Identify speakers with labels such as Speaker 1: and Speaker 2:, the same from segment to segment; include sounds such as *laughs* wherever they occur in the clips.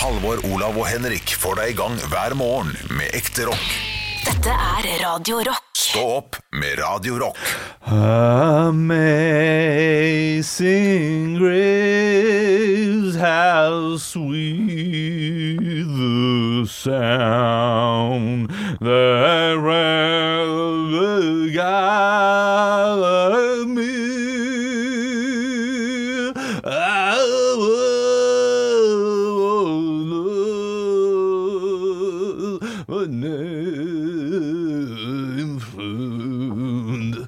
Speaker 1: Halvor, Olav og Henrik får deg i gang hver morgen med ekte rock.
Speaker 2: Dette er Radio Rock.
Speaker 1: Stå opp med Radio Rock.
Speaker 3: Amazing grace, how sweet the sound that gathered me. I will love my name found.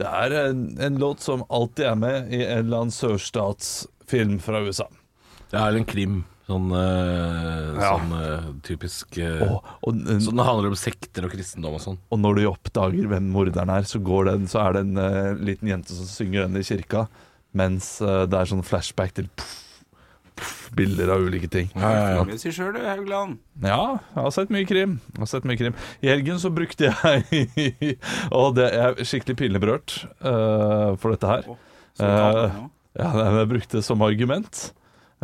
Speaker 3: Det er en, en låt som alltid er med i en eller annen sørstatsfilm fra USA.
Speaker 4: Det er en krim. Sånn, eh,
Speaker 3: Ja.
Speaker 4: sånn eh, typisk eh,
Speaker 3: Og, og,
Speaker 4: Sånn det handler om sekter og kristendom og sånn.
Speaker 3: og når du oppdager hvem morderen er, så, går den, så er det en eh, liten jente som synger den i kirka, mens eh, det er sånn flashback til pff, pff, bilder av ulike ting.
Speaker 5: Mye å si sjøl, du, Haugland.
Speaker 3: Ja, jeg har sett mye krim. Jeg har sett mye krim. I helgen så brukte jeg *laughs* Og det er skikkelig pinlig berørt eh, for dette her.
Speaker 5: Som vi kaller det
Speaker 3: Eh,
Speaker 5: nå.
Speaker 3: Ja, nei, men jeg brukte det som argument.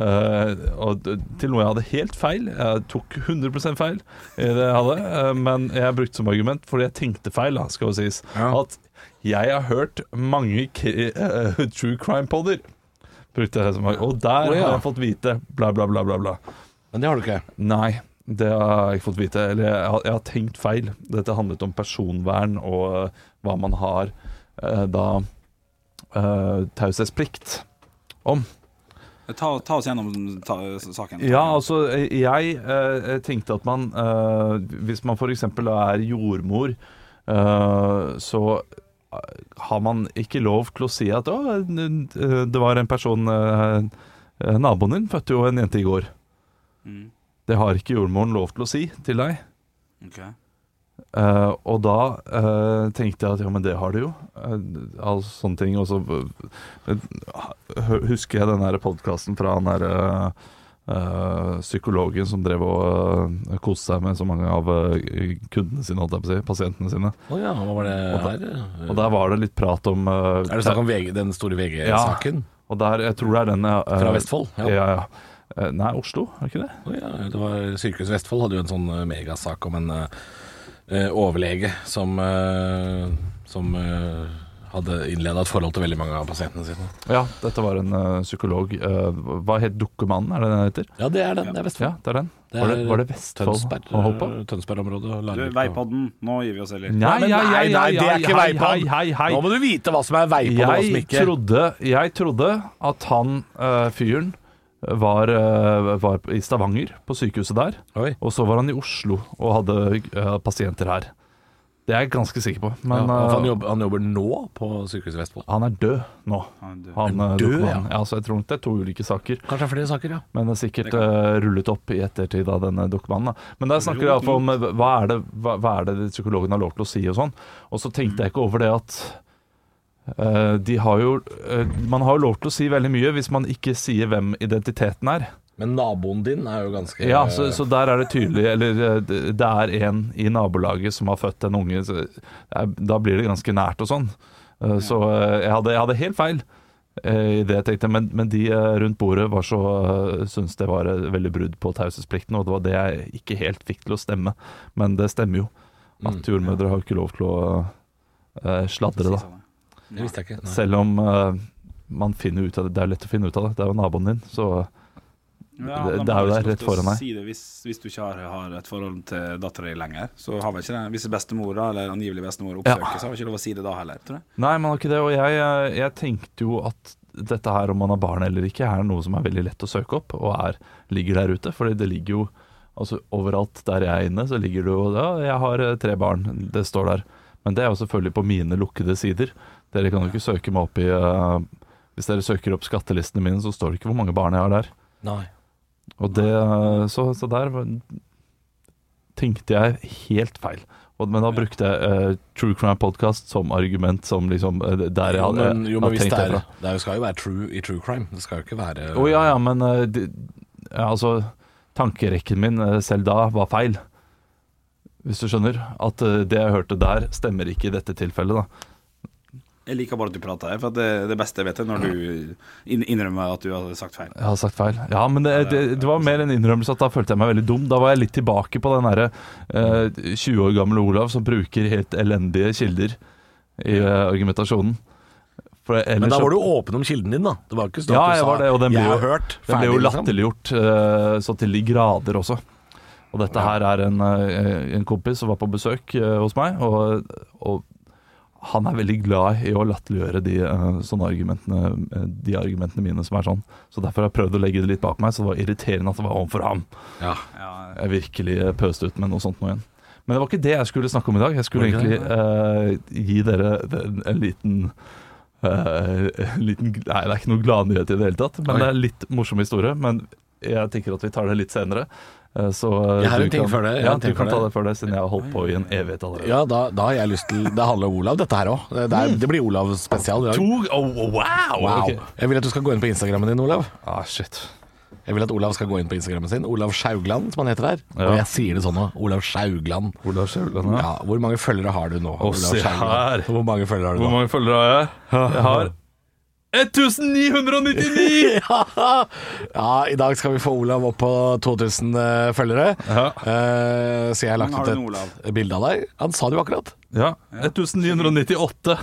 Speaker 3: eh, og d- til noe jeg hadde helt feil. Jeg tok 100 feil i det jeg hadde. eh, men jeg brukte som argument fordi jeg tenkte feil, da, skal jo sies.
Speaker 4: Ja.
Speaker 3: At jeg har hørt mange kri- eh, true crime-poder. Brukte jeg det som argument. Og der
Speaker 4: Å, ja.
Speaker 3: har jeg fått vite bla, bla, bla, bla. bla.
Speaker 4: Men det har du ikke.
Speaker 3: Nei, det har jeg ikke fått vite. Eller jeg har, jeg har tenkt feil. Dette handlet om personvern og eh, hva man har eh, da eh, taushetsplikt om.
Speaker 5: Ta, ta oss gjennom ta, saken.
Speaker 3: Ja, altså eh, jeg eh, tenkte at man eh, Hvis man f.eks. er jordmor, eh, så eh, har man ikke lov til å si at å, n- n- det var en person eh, eh, Naboen din fødte jo en jente i går.
Speaker 5: Mm,
Speaker 3: Det har ikke jordmoren lov til å si til deg.
Speaker 5: ok.
Speaker 3: Eh, og da eh, tenkte jeg at ja, men det har du jo. Uh, all sånne ting. Og så eh, hø- husker jeg den podkasten fra han derre psykologen som drev og uh, koste seg med så mange av eh, kundene sine, holdt jeg på å si, pasientene sine.
Speaker 4: Å ja, hva var det
Speaker 3: Og
Speaker 4: her?
Speaker 3: Og der var det litt prat om eh,
Speaker 4: Mm. er det snakk om VG, den store VG-saken
Speaker 3: Og der, jeg tror det er den eh,
Speaker 4: fra Vestfold?
Speaker 3: Ja, ja. Eh, nei, Oslo, er det ikke det?
Speaker 4: Å ja, det var Sykehuset Vestfold hadde jo en sånn eh, megasak om en eh, eh, overlege som, eh, som eh, hadde innleda et forhold til veldig mange av pasientene sine.
Speaker 3: Ja, dette var en eh, psykolog. Eh, hva het Dukkemannen, er det den heter?
Speaker 4: Ja, det er den. Det er Vestfold.
Speaker 3: Ja, det er den.
Speaker 4: Det
Speaker 3: var,
Speaker 4: er
Speaker 3: det, var det Vestfold
Speaker 4: Tønsberg, eh,
Speaker 3: han holdt på?
Speaker 4: Tønsberg-området. og
Speaker 5: Du,
Speaker 4: Larvik og-
Speaker 5: Veipodden, nå gir vi oss, eller?
Speaker 3: Nei,
Speaker 4: men
Speaker 3: nei, nei,
Speaker 4: nei, det er ikke
Speaker 3: hei,
Speaker 4: veipod.
Speaker 3: Hei, hei,
Speaker 4: Nå
Speaker 3: hei.
Speaker 4: må du vite hva som er veipod og hva som
Speaker 3: Jeg
Speaker 4: ikke.
Speaker 3: trodde, jeg trodde at han eh, fyren var, eh, var i Stavanger, på sykehuset der.
Speaker 4: Oi.
Speaker 3: Og så var han i Oslo og hadde eh, pasienter her. Det er jeg ganske sikker på.
Speaker 4: Ja,
Speaker 3: Men
Speaker 4: for han,
Speaker 3: eh,
Speaker 4: jobber, han jobber nå på Sykehuset Vestfold.
Speaker 3: han er død nå.
Speaker 5: Han dør.
Speaker 3: Han, eh,
Speaker 4: død,
Speaker 3: Dokumann. ja. Så jeg tror nok det er to ulike saker.
Speaker 4: Kanskje det er flere saker, ja.
Speaker 3: Men det er sikkert eh, rullet opp i ettertid av denne dokumannen. da. Men der snakker jeg iallfall om eh, hva er, det, hva, hva er det psykologen har lov til å si og sånn. Og så tenkte jeg ikke over det at eh, de har jo eh, Man har jo lov til å si veldig mye hvis man ikke sier hvem identiteten er.
Speaker 4: Men naboen din er jo ganske
Speaker 3: Ja, så, så der er det tydelig Eller eh, det det er en i nabolaget som har født en unge, så eh, da blir det ganske nært og sånn. Eh, Så eh, jeg hadde, jeg hadde helt feil eh, i det jeg tenkte, men, men de eh, rundt bordet var så eh, syntes det var eh, veldig brudd på taushetsplikten, og det var det jeg ikke helt fikk til å stemme. Men det stemmer jo. At jordmødre har ikke lov til å eh, sladre, da.
Speaker 4: Det visste jeg ikke. Nei.
Speaker 3: Selv om eh, man finner ut av det. Det er lett å finne ut av det. Det er jo naboen din, så
Speaker 5: Ja,
Speaker 3: Det-
Speaker 5: de
Speaker 3: det er
Speaker 5: har
Speaker 3: jo
Speaker 5: ikke
Speaker 3: der
Speaker 5: lov
Speaker 3: rett
Speaker 5: til å
Speaker 3: foran deg.
Speaker 5: liksom Si det hvis, hvis du ikke har, har et forhold til dattera di lenger, så har vel ikke den Hvis bestemor da, eller angivelig bestemor
Speaker 3: Ja.
Speaker 5: oppsøker, så har vi ikke lov å si det da heller, tror jeg.
Speaker 3: Nei, man har ikke det, og jeg, eh, jeg tenkte jo at dette her, om man har barn eller ikke, er noe som er veldig lett å søke opp, og er, ligger der ute. Fordi det ligger jo altså overalt der jeg er inne, så ligger det jo Ja, jeg har eh, tre barn, det står der. Men det er jo selvfølgelig på mine lukkede sider. Dere kan jo ikke søke meg opp i eh, Hvis dere søker opp skattelistene mine, så står det ikke hvor mange barn jeg har der.
Speaker 4: Nei.
Speaker 3: Og det, eh, så, så der var- tenkte jeg helt feil. Og- Men da brukte jeg eh, True Crime Podcast som argument, som liksom eh, Der jeg
Speaker 4: Jo,
Speaker 3: hadde,
Speaker 4: men, jo, men
Speaker 3: hadde
Speaker 4: hvis
Speaker 3: tenkt
Speaker 4: det,
Speaker 3: det
Speaker 4: er,
Speaker 3: fra.
Speaker 4: det er jo- skal jo være true i true crime. Det skal jo ikke være
Speaker 3: Å ja, ja, men eh, de, ja, altså Tankerekken min eh, selv da var feil. Hvis du skjønner. At eh, det jeg hørte der, stemmer ikke i dette tilfellet, da.
Speaker 5: Jeg liker bare at du prater, jeg, for at det, det beste jeg vet, er når du inn- innrømmer at du har sagt feil.
Speaker 3: Jeg har sagt feil. Ja, men det, det, det var mer en innrømmelse at da følte jeg meg veldig dum. Da var jeg litt tilbake på den derre eh, 20 år gamle Olav som bruker helt elendige kilder i eh, argumentasjonen. For ellers
Speaker 4: Men da
Speaker 3: så-
Speaker 4: var du åpen om kilden din, da. Det var ikke sånn
Speaker 3: Ja,
Speaker 4: at du
Speaker 3: jeg
Speaker 4: sa,
Speaker 3: var det, og den ble
Speaker 4: jeg
Speaker 3: jo,
Speaker 4: har hørt.
Speaker 3: den ble jo
Speaker 4: liksom.
Speaker 3: latterliggjort eh, så til de grader også. Og dette her er en, eh, en kompis som var på besøk eh, hos meg, og, og han er veldig glad i å latterliggjøre de, eh, sånne argumentene, eh, de argumentene mine som er sånn. Så derfor har jeg prøvd å legge det litt bak meg, så det var irriterende at det var overfor ham.
Speaker 4: Ja.
Speaker 5: Ja,
Speaker 3: Jeg virkelig eh, pøste ut med noe sånt nå igjen. Men det var ikke det jeg skulle snakke om i dag. Jeg skulle
Speaker 4: Var det
Speaker 3: egentlig eh, gi dere en, en liten eh, en liten, gl- Nei, det er ikke noe gladnyhet i det hele tatt. Men
Speaker 4: Oi.
Speaker 3: det er litt morsom historie. Men jeg tenker at vi tar det litt senere. Eh, Så eh,
Speaker 4: Jeg har
Speaker 3: du
Speaker 4: en ting
Speaker 3: kan-
Speaker 4: før det, jeg har
Speaker 3: Ja,
Speaker 4: en
Speaker 3: du
Speaker 4: ting
Speaker 3: kan
Speaker 4: før
Speaker 3: ta
Speaker 4: det.
Speaker 3: det før det, siden jeg har holdt på i en evighet allerede.
Speaker 4: Ja, da, da har jeg lyst til Det handler om Olav, dette her òg. Det, er- det blir Olav spesial i
Speaker 3: Mm.
Speaker 4: dag.
Speaker 3: To oh, oh, Wow!
Speaker 4: Wow.
Speaker 3: Ok.
Speaker 4: Jeg vil at du skal gå inn på Instagrammen din, Olav.
Speaker 3: Ah, shit.
Speaker 4: Jeg vil at Olav skal gå inn på Instagrammen sin. Olav Sjaugland, som han heter der.
Speaker 3: Ja.
Speaker 4: Og jeg sier det sånn nå. Olav Sjaugland.
Speaker 3: Olav Skjævland, ja.
Speaker 4: Ja, hvor mange følgere har du nå?
Speaker 3: Å,
Speaker 4: Olav
Speaker 3: se
Speaker 4: Sjaugland?
Speaker 3: her.
Speaker 4: Hvor mange følgere har du
Speaker 3: Hvor
Speaker 4: nå?
Speaker 3: mange følgere har jeg? Jeg har 1999!
Speaker 4: *laughs* Ja, I dag skal vi få Olav opp på 2000 eh, følgere.
Speaker 3: Ja.
Speaker 4: Eh, så jeg har lagt
Speaker 5: Har
Speaker 4: ut
Speaker 5: du noe, Olav?
Speaker 4: et bilde av deg. Han sa det jo akkurat.
Speaker 3: Ja, 1998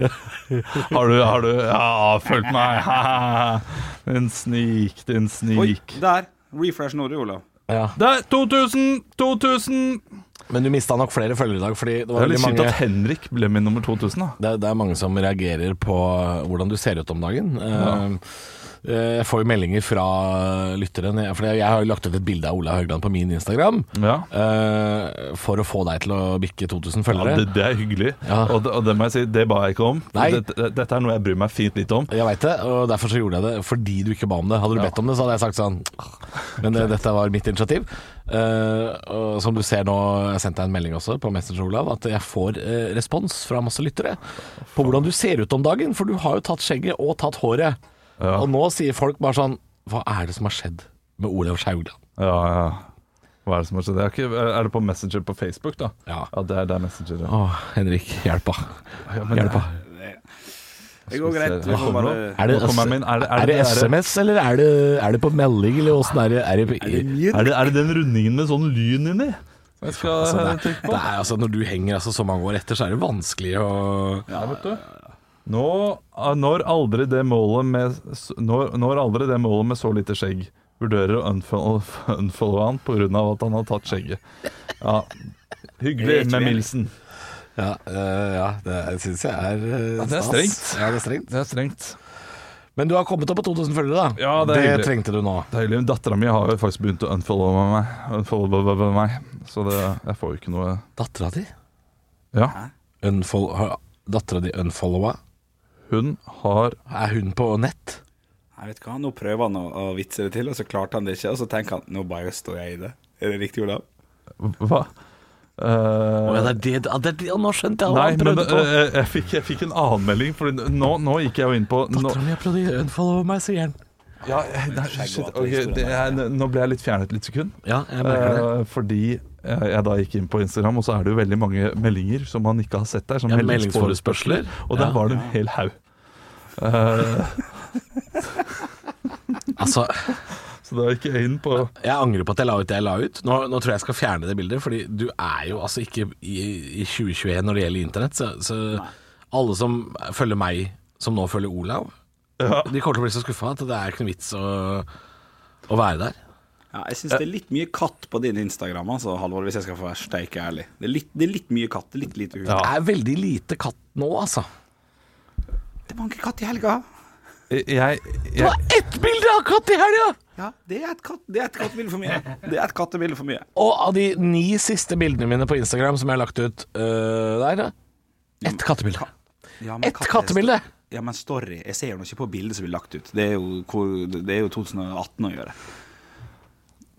Speaker 3: Har du, har du Ja, følg meg *laughs* Din snik, din
Speaker 5: Oi,
Speaker 3: snik
Speaker 5: der. Refresh nå, du, Olav.
Speaker 4: Ja.
Speaker 3: Der, 2000, 2000
Speaker 4: Men du mista nok flere følgere i dag, fordi det
Speaker 3: Det
Speaker 4: var
Speaker 3: er
Speaker 4: veldig
Speaker 3: litt kjipt
Speaker 4: mange
Speaker 3: at Henrik ble min nummer 2000 da
Speaker 4: det, det er mange som reagerer på hvordan du ser ut om dagen. Eh, eh, Jeg får jo meldinger fra lyttere når jeg- For jeg har jo lagt ut et bilde av Ola Haugland på min Instagram
Speaker 3: Ja
Speaker 4: eh, for å få deg til å bikke 2000
Speaker 3: ja, det,
Speaker 4: følgere.
Speaker 3: det er hyggelig
Speaker 4: Ja.
Speaker 3: og, det, og det må jeg si, det ba jeg ikke om
Speaker 4: Nei.
Speaker 3: dette, dette er noe jeg bryr meg fint litt om
Speaker 4: Jeg veit det, og derfor så gjorde jeg det. Fordi du ikke ba om det. Hadde du bedt om det, så hadde jeg sagt sånn Men eh, dette var mitt initiativ. Eh, og som du ser nå, jeg sendte deg en melding også på Messenger, Olav, at jeg får eh, respons fra masse lyttere på hvordan du ser ut om dagen. For du har jo tatt skjegget og tatt håret.
Speaker 3: Ja.
Speaker 4: Og nå sier folk bare sånn Hva er det som har skjedd med Olav Skjaugland?
Speaker 3: Ja, ja Hva er det som har skjedd? Jeg har ikke- Er det på Messenger på Facebook da?
Speaker 4: Ja.
Speaker 3: Ja, det er, det er Messenger ja.
Speaker 4: Å, Henrik, hjelp, da.
Speaker 3: ja, men,
Speaker 4: Hjelp, da.
Speaker 5: Det går greit. Vi
Speaker 3: Nå
Speaker 5: får
Speaker 3: kommer
Speaker 5: bare
Speaker 3: det.
Speaker 4: Er det,
Speaker 3: Nå kommer jeg med inn. Er det- er
Speaker 4: er det
Speaker 3: det- er det-
Speaker 4: SMS, eller er det, er det på melding, eller åssen er det? Er det,
Speaker 3: Er det, er det den rundingen med sånn lyn inni? Som jeg skal
Speaker 4: Altså, det,
Speaker 3: eh, trykke
Speaker 4: er-
Speaker 3: på?
Speaker 4: det er altså Når du henger altså, så mange år etter, så er det vanskelig å
Speaker 3: Ja, vet du. Nå, ah, når, aldri det målet med, når, når aldri det målet med så lite skjegg vurderer å unfollow, *laughs* unfollow han pga. at han har tatt skjegget. Ja, hyggelig
Speaker 5: Helt
Speaker 3: med
Speaker 5: enig.
Speaker 3: Milsen.
Speaker 4: Ja, øh, ja det syns jeg er øh,
Speaker 3: det er
Speaker 4: stas.
Speaker 3: strengt.
Speaker 4: Ja, det er strengt.
Speaker 3: Det er strengt.
Speaker 4: Men du har kommet opp på 2000 følgere, da.
Speaker 3: Ja, det er hyggelig.
Speaker 4: trengte du nå.
Speaker 3: Deilig. Dattera mi har jo faktisk begynt å unfollow meg. Unfollow meg. Så det, jeg får jo ikke noe
Speaker 4: Dattera di
Speaker 3: Ja,
Speaker 4: Unfol- har- Dattera di unfollowa.
Speaker 3: hun har
Speaker 4: Er hun på nett?
Speaker 5: Jeg vet ikke hva, Nå prøver han å, å vitse det til, og så klarte han det ikke. Og så tenker han nå bare står jeg i det. Er det riktig, Olav?
Speaker 3: Hva? Eh,
Speaker 4: Å, ja, det er det, ja, det er det, ja, nå skjønte jeg hva
Speaker 3: Nei,
Speaker 4: han
Speaker 3: men
Speaker 4: prøvde på.
Speaker 3: eh, jeg, fikk, jeg fikk en annen melding, for nå, nå gikk jeg jo inn på nå,
Speaker 4: Dattera mi har prøvd å unfollowe meg, sier han.
Speaker 3: ja, eh, nei, shit, ok, det er, Nå ble jeg litt fjernet litt sekund.
Speaker 4: Ja, jeg merker det.
Speaker 3: Eh, fordi eh, jeg da gikk inn på Instagram, og så er det jo veldig mange meldinger som man ikke har sett der. Som
Speaker 4: Ja,
Speaker 3: meldingsforespørsler.
Speaker 4: meldingsforespørsler.
Speaker 3: Og der
Speaker 4: Ja.
Speaker 3: var det en hel haug. Eh,
Speaker 4: Altså,
Speaker 3: så da gikk jeg inn på
Speaker 4: jeg angrer på at jeg la ut det jeg la ut. Nå, nå tror jeg jeg skal fjerne det bildet, Fordi du er jo altså ikke i, i 2021 når det gjelder internett. Så, så alle som følger meg, som nå følger Olav,
Speaker 3: ja,
Speaker 4: De kommer til å bli så skuffa at det er ikke noe vits å, å være der.
Speaker 5: Ja, jeg syns det er litt mye katt på din Instagram, altså, Halvor, hvis jeg skal få være steike ærlig. Det er, litt, det er litt mye katt. Det er litt lite hund.
Speaker 3: Ja.
Speaker 4: Det er veldig lite katt nå, altså.
Speaker 5: Det er mange katt i helga.
Speaker 4: Eh,
Speaker 3: jeg,
Speaker 4: Det
Speaker 3: jeg,
Speaker 4: var ett bilde av katt i helga!
Speaker 5: Ja, det er et katt Det er et kattebilde for mye. Det er et kattebilde for mye.
Speaker 4: Og av de ni siste bildene mine på Instagram som jeg har lagt ut øh, der, ett kattebilde.
Speaker 5: Ja,
Speaker 4: Ett kattebilde!
Speaker 5: Ja, men story. Jeg ser jo ikke på bildet som blir lagt ut. Det er jo, hvor- det er jo 2018 å gjøre.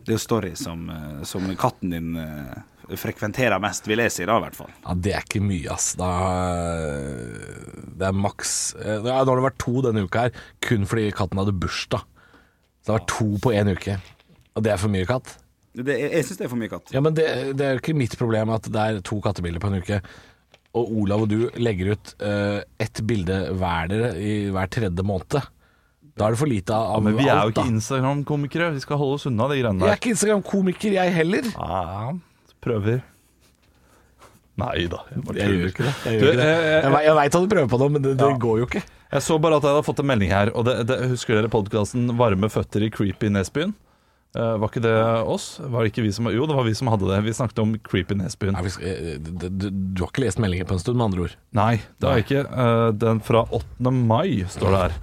Speaker 5: Det er jo story som, eh, som katten din eh, frekventerer mest, vil jeg si da, i hvert fall.
Speaker 4: Ja, det er ikke mye, ass. Da, eh, det er maks eh, ja, Nå har det vært to denne uka her, kun fordi katten hadde bursdag. Så det har vært to på én uke. Og det er for mye katt.
Speaker 5: Det, jeg jeg syns det er for mye katt.
Speaker 4: Ja, men det, det er jo ikke mitt problem at det er to kattebilder på en uke. og Olav og du legger ut eh, ett bilde hver dere i hver tredje måned, da er det for lite av
Speaker 3: Men vi er jo
Speaker 4: alt,
Speaker 3: ikke
Speaker 4: da.
Speaker 3: Instagram-komikere. Vi skal holde oss unna de greiene
Speaker 4: Jeg
Speaker 3: der.
Speaker 4: er ikke Instagram-komiker, jeg heller.
Speaker 3: Ja, prøver. Nei da. Jeg, bare
Speaker 4: Jeg gjør
Speaker 3: tuller.
Speaker 4: ikke det. Jeg,
Speaker 3: Du,
Speaker 4: gjør ikke det.
Speaker 3: eh,
Speaker 4: jeg, vei- jeg veit at du prøver på det, men det, det
Speaker 3: Ja.
Speaker 4: går jo ikke.
Speaker 3: Jeg så bare at jeg hadde fått en melding her. Og det, det, Husker dere podkasten 'Varme føtter i creepy Nesbyen'? Eh, var ikke det oss? Var det ikke vi som, jo, det var vi som hadde det. Vi snakket om creepy Nesbyen.
Speaker 4: Nei, vi skal- eh, d- d- Du har ikke lest meldinger på en stund, med andre ord.
Speaker 3: Nei, det har jeg ikke. Eh, den fra 8. mai står det her.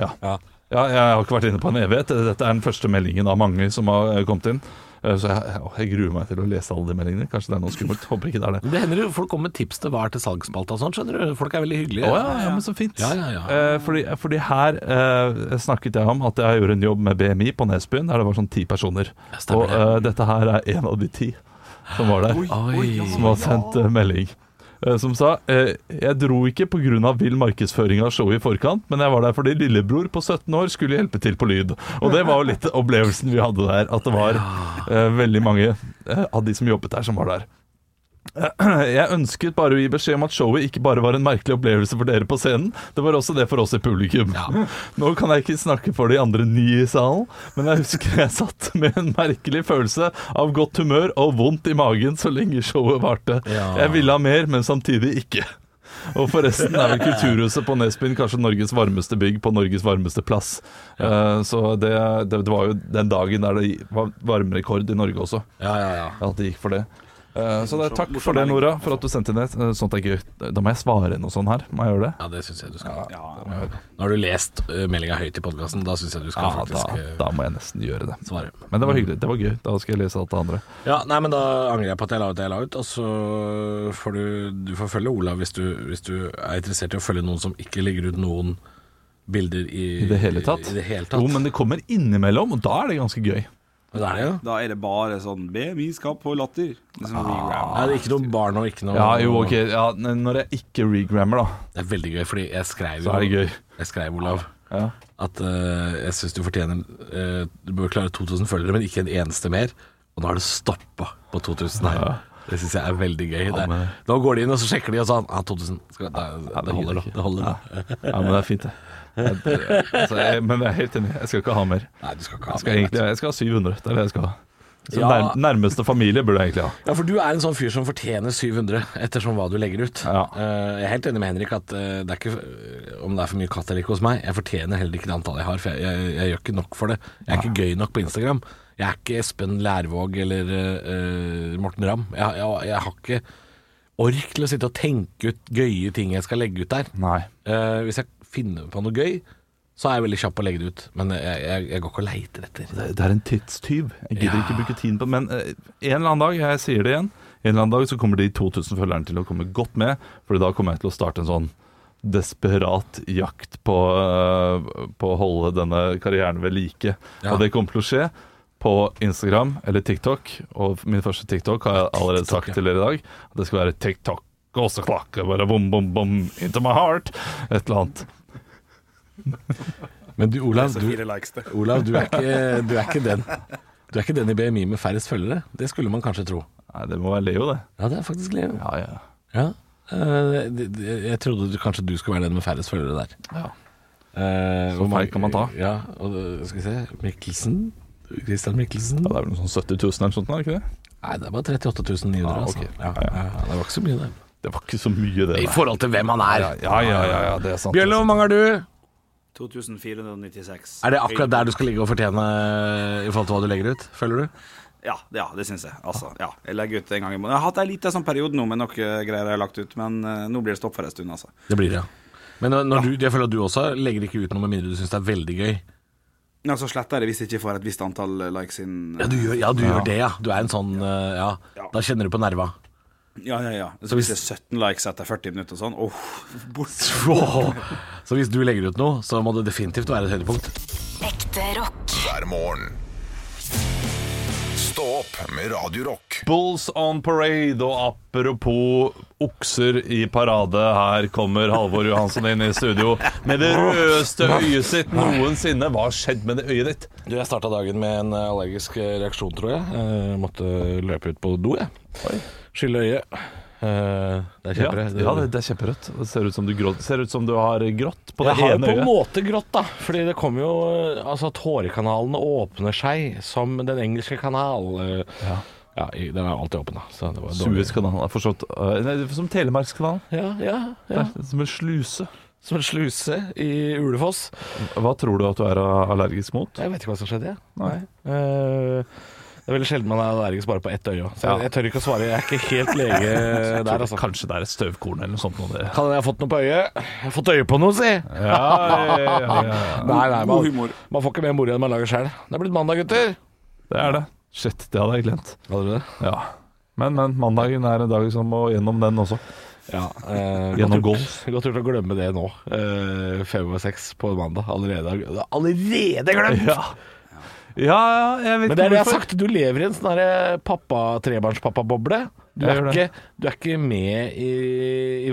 Speaker 3: Ja.
Speaker 4: Ja.
Speaker 3: ja, jeg har ikke vært inne på en evighet. Dette er den første meldingen av mange som har eh, kommet inn. Eh, Så jeg, jeg- jeg gruer meg til å lese alle de meldingene. Kanskje det er noe skummelt. Håper ikke det er det.
Speaker 4: Det hender jo folk kommer med tips til hva er til salgsspalta og sånn, skjønner du. Folk er veldig hyggelige.
Speaker 3: Å ja, ja, men så fint.
Speaker 4: Ja, ja, ja.
Speaker 3: Eh, fordi, fordi her eh, snakket jeg om at jeg gjorde en jobb med BMI på Nesbyen, der det var sånn ti personer.
Speaker 4: Ja,
Speaker 3: Og
Speaker 4: stemmer det.
Speaker 3: eh, dette her er en av de ti som var der. som har sendt eh, melding. eh, Som sa eh, Jeg dro ikke pga. vill markedsføring av showet i forkant, men jeg var der fordi lillebror på 17 år skulle hjelpe til på lyd. Og det var jo litt opplevelsen vi hadde der, at det var eh, veldig mange eh, av de som jobbet der, som var der. *clears throat* Jeg ønsket bare å gi beskjed om at showet ikke bare var en merkelig opplevelse for dere på scenen, det var også det for oss i publikum. *laughs* Nå kan jeg ikke snakke for de andre ni i salen, men jeg husker jeg satt med en merkelig følelse av godt humør og vondt i magen så lenge showet varte.
Speaker 4: Ja.
Speaker 3: Jeg ville ha mer, men samtidig ikke. Og forresten er vel Kulturhuset på Nesbyen kanskje Norges varmeste bygg på Norges varmeste plass. Eh, Så det, det, det var jo den dagen der det var varmerekord i Norge også.
Speaker 4: Ja, ja, ja.
Speaker 3: Ja, at det gikk for det. Eh, så det er
Speaker 5: Morsom-
Speaker 3: takk
Speaker 5: morsom
Speaker 3: for det,
Speaker 5: melding.
Speaker 3: Nora, for at du sendte inn det. Eh, Sånt er gøy. Da må jeg svare noe sånn her. Må jeg gjøre det?
Speaker 4: Ja, det syns jeg du skal.
Speaker 5: Ja,
Speaker 4: Nå har du lest uh, meldinga høyt i podkasten, da syns jeg du
Speaker 3: Ja,
Speaker 4: skal
Speaker 3: da,
Speaker 4: faktisk eh,
Speaker 3: da må jeg nesten gjøre det.
Speaker 4: svare.
Speaker 3: Men det var hyggelig. Det var gøy. Da skal jeg lese alt det andre.
Speaker 4: Ja, nei, men da angrer jeg på at jeg la ut det jeg la ut, og så får du Du får følge Olav hvis du, hvis du er interessert i å følge noen som ikke legger ut noen bilder i
Speaker 3: I det hele tatt.
Speaker 4: I det hele tatt.
Speaker 3: Jo, men det kommer innimellom, og da er det ganske gøy.
Speaker 4: Men det er det jo.
Speaker 5: Da er det bare sånn BMI skal på latter. Liksom reround.
Speaker 4: Nei, det er ikke noe barn og ikke noe
Speaker 3: Ja, jo, ok. Ja, n- når jeg ikke regrammer, da,
Speaker 4: Det er veldig gøy, fordi jeg skrev
Speaker 3: så er det gøy.
Speaker 4: Jeg skrev, Olav,
Speaker 3: Ja.
Speaker 4: at eh, jeg syns du fortjener eh, Du bør klare 2000 følgere, men ikke en eneste mer. Og nå har det stoppa på 2000 her. Det syns jeg er veldig gøy. Det,
Speaker 3: men-
Speaker 4: nå går de inn og så sjekker de og sånn Ja, 2000. Skal, det, det,
Speaker 3: det
Speaker 4: holder,
Speaker 3: gidder
Speaker 4: nå,
Speaker 3: ikke.
Speaker 4: det holder nå.
Speaker 3: ja, men det er fint, det. Jeg, altså, jeg, men jeg er helt enig. Jeg skal ikke ha mer.
Speaker 4: Nei, du skal ikke ha
Speaker 3: Jeg skal,
Speaker 4: det.
Speaker 3: egentlig, jeg skal ha 700. Det er det jeg skal ha. Så
Speaker 4: Ja.
Speaker 3: nær, nærmeste familie burde jeg egentlig ha.
Speaker 4: Ja, for du er en sånn fyr som fortjener 700, ettersom hva du legger ut.
Speaker 3: Ja.
Speaker 4: Eh, jeg er helt enig med Henrik at eh, det er ikke eh, om det er for mye katt eller ikke hos meg. Jeg fortjener heller ikke det antallet jeg har, for jeg, jeg, jeg gjør ikke nok for det. Jeg er ikke gøy nok på Instagram. Jeg er ikke Espen Lærvåg eller eh, eh, Morten Ramm. Jeg, jeg, jeg har ikke ork til å sitte og tenke ut gøye ting jeg skal legge ut der.
Speaker 3: Nei.
Speaker 4: Eh, hvis jeg finner på noe gøy, så er jeg veldig kjapp på å legge det ut. Men jeg, jeg, jeg går ikke og leiter etter.
Speaker 3: Det, det er en tidstyv. Jeg gidder
Speaker 4: Ja.
Speaker 3: ikke bruke tiden på det. Men eh, en eller annen dag, jeg sier det igjen, en eller annen dag så kommer de 2000 følgerne til å komme godt med. For da kommer jeg til å starte en sånn desperat jakt på, eh, på å holde denne karrieren ved like.
Speaker 4: Ja.
Speaker 3: Og det kommer til å skje på Instagram eller TikTok. Og min første TikTok har jeg allerede
Speaker 4: TikTok,
Speaker 3: sagt
Speaker 4: ja.
Speaker 3: til dere i dag. At det skal være TikTok. Gås og klakke, bare bom, bom, bom, into my heart. Et eller annet.
Speaker 4: Men du, Olav, du,
Speaker 6: Fire likes det.
Speaker 4: Olav, du er ikke, du er ikke den Du er ikke den i BMI med færrest følgere. Det skulle man kanskje tro.
Speaker 3: Nei, det må være Leo, det.
Speaker 4: Ja, det er faktisk Leo.
Speaker 3: Ja, ja.
Speaker 4: Ja. Eh, det- det- Jeg trodde du, kanskje du skulle være den med færrest følgere der.
Speaker 3: ja.
Speaker 4: Eh, hvor
Speaker 3: feil
Speaker 4: mange-
Speaker 3: kan man ta.
Speaker 4: Ja, og det- skal vi se Mikkelsen. Christian Mikkelsen.
Speaker 3: Ja, Det er vel noe sånn 70 000 eller noe sånt, er det ikke det?
Speaker 4: Nei, det er bare 38 900.
Speaker 3: Ah,
Speaker 4: altså.
Speaker 3: ok.
Speaker 4: ja, ja, ja, det var ikke så mye, det.
Speaker 3: Det var ikke så mye, det.
Speaker 4: I forhold til hvem han er.
Speaker 3: Ja, ja, ja, ja, det er sant.
Speaker 4: Bjørlo, hvor mange er du?
Speaker 5: 2496.
Speaker 4: Er det akkurat der du skal ligge og fortjene i forhold til hva du legger ut? Føler du?
Speaker 5: Ja, ja det syns jeg. Altså, ja. Jeg legger ut en gang i måneden. Jeg har hatt ei lita sånn periode nå med noe greier jeg har lagt ut, men eh, nå blir det stopp for en stund, altså.
Speaker 4: Det blir det, ja. Men når, når du, jeg føler at du også legger ikke ut noe med mindre du syns det er veldig gøy.
Speaker 5: Ja, så sletter jeg det hvis jeg ikke får et visst antall eh, likes inn.
Speaker 4: Ja, du gjør, ja, du gjør det, ja. Du er en sånn eh, ja. Da kjenner du på nerva.
Speaker 5: Ja, ja, ja. Så hvis det er 17 likes etter 40 minutter og sånn, åh, bort.
Speaker 4: Så hvis du legger ut noe, så må det definitivt være et høydepunkt.
Speaker 2: Ekte rock.
Speaker 1: hver morgen. Stå opp med Radio Rock.
Speaker 3: Bulls on parade, og apropos okser i parade, her kommer Halvor Johansson inn i studio med det rødeste øyet sitt noensinne. Hva har skjedd med det øyet ditt?
Speaker 4: Du, jeg starta dagen med en eh, allergisk reaksjon, tror jeg. Eh, måtte løpe ut på do, jeg. Skylle øyet. Eh, det
Speaker 3: Ja,
Speaker 4: er kjempere.
Speaker 3: ja det, det er kjemperødt. Det ser ut som du, grå, ser ut som du har grått på det
Speaker 4: Jeg har jo
Speaker 3: ene
Speaker 4: på en
Speaker 3: øyet.
Speaker 4: måte grått, da. Fordi det kommer jo eh, Altså, tårekanalene åpner seg som den engelske kanal. eh,
Speaker 3: Ja.
Speaker 4: Ja, i- den er jo alltid åpen, da. Så det var dårlig.
Speaker 3: Suezkanalen er forstått øh, nei, Som Telemarkskanalen.
Speaker 4: Ja, ja, ja.
Speaker 3: Det er Som en sluse.
Speaker 4: Som en sluse i Ulefoss.
Speaker 3: Hva tror du at du er allergisk mot?
Speaker 4: Jeg vet ikke hva som skjedde, jeg. Eh, det er veldig sjelden man er allergisk bare på ett øye. også. Så
Speaker 3: Ja.
Speaker 4: jeg, jeg tør ikke å svare. Jeg er ikke helt
Speaker 3: *laughs*
Speaker 4: lege
Speaker 3: Jeg
Speaker 4: der,
Speaker 3: tror
Speaker 4: altså.
Speaker 3: Kanskje det er et støvkorn eller noe sånt. Noe det.
Speaker 4: Kan jeg ha fått noe på øyet? Jeg har fått øye på noe, si!
Speaker 3: Ja, ja, ja, ja, ja.
Speaker 4: *laughs* Nei, nei,
Speaker 5: God
Speaker 4: man,
Speaker 5: humor.
Speaker 4: man får ikke mer moro enn man lager sjøl. Det er blitt mandag, gutter.
Speaker 3: Det er det. Shit, det hadde jeg glemt.
Speaker 4: Hadde du det?
Speaker 3: Ja. Men, men mandagen er en dag som må gjennom den også.
Speaker 4: Ja, eh,
Speaker 3: Gjennom
Speaker 4: godt gjort- Godt gjort å glemme det nå. Eh, fem over seks på mandag. Allerede, allerede glemt!
Speaker 3: Ja, ja, ja jeg vet
Speaker 4: Men det er det jeg har
Speaker 3: hvorfor.
Speaker 4: sagt. Du lever i en sånn derre pappa, trebarnspappa-boble. Du,
Speaker 3: Jeg
Speaker 4: er
Speaker 3: gjør
Speaker 4: ikke- du er ikke med i,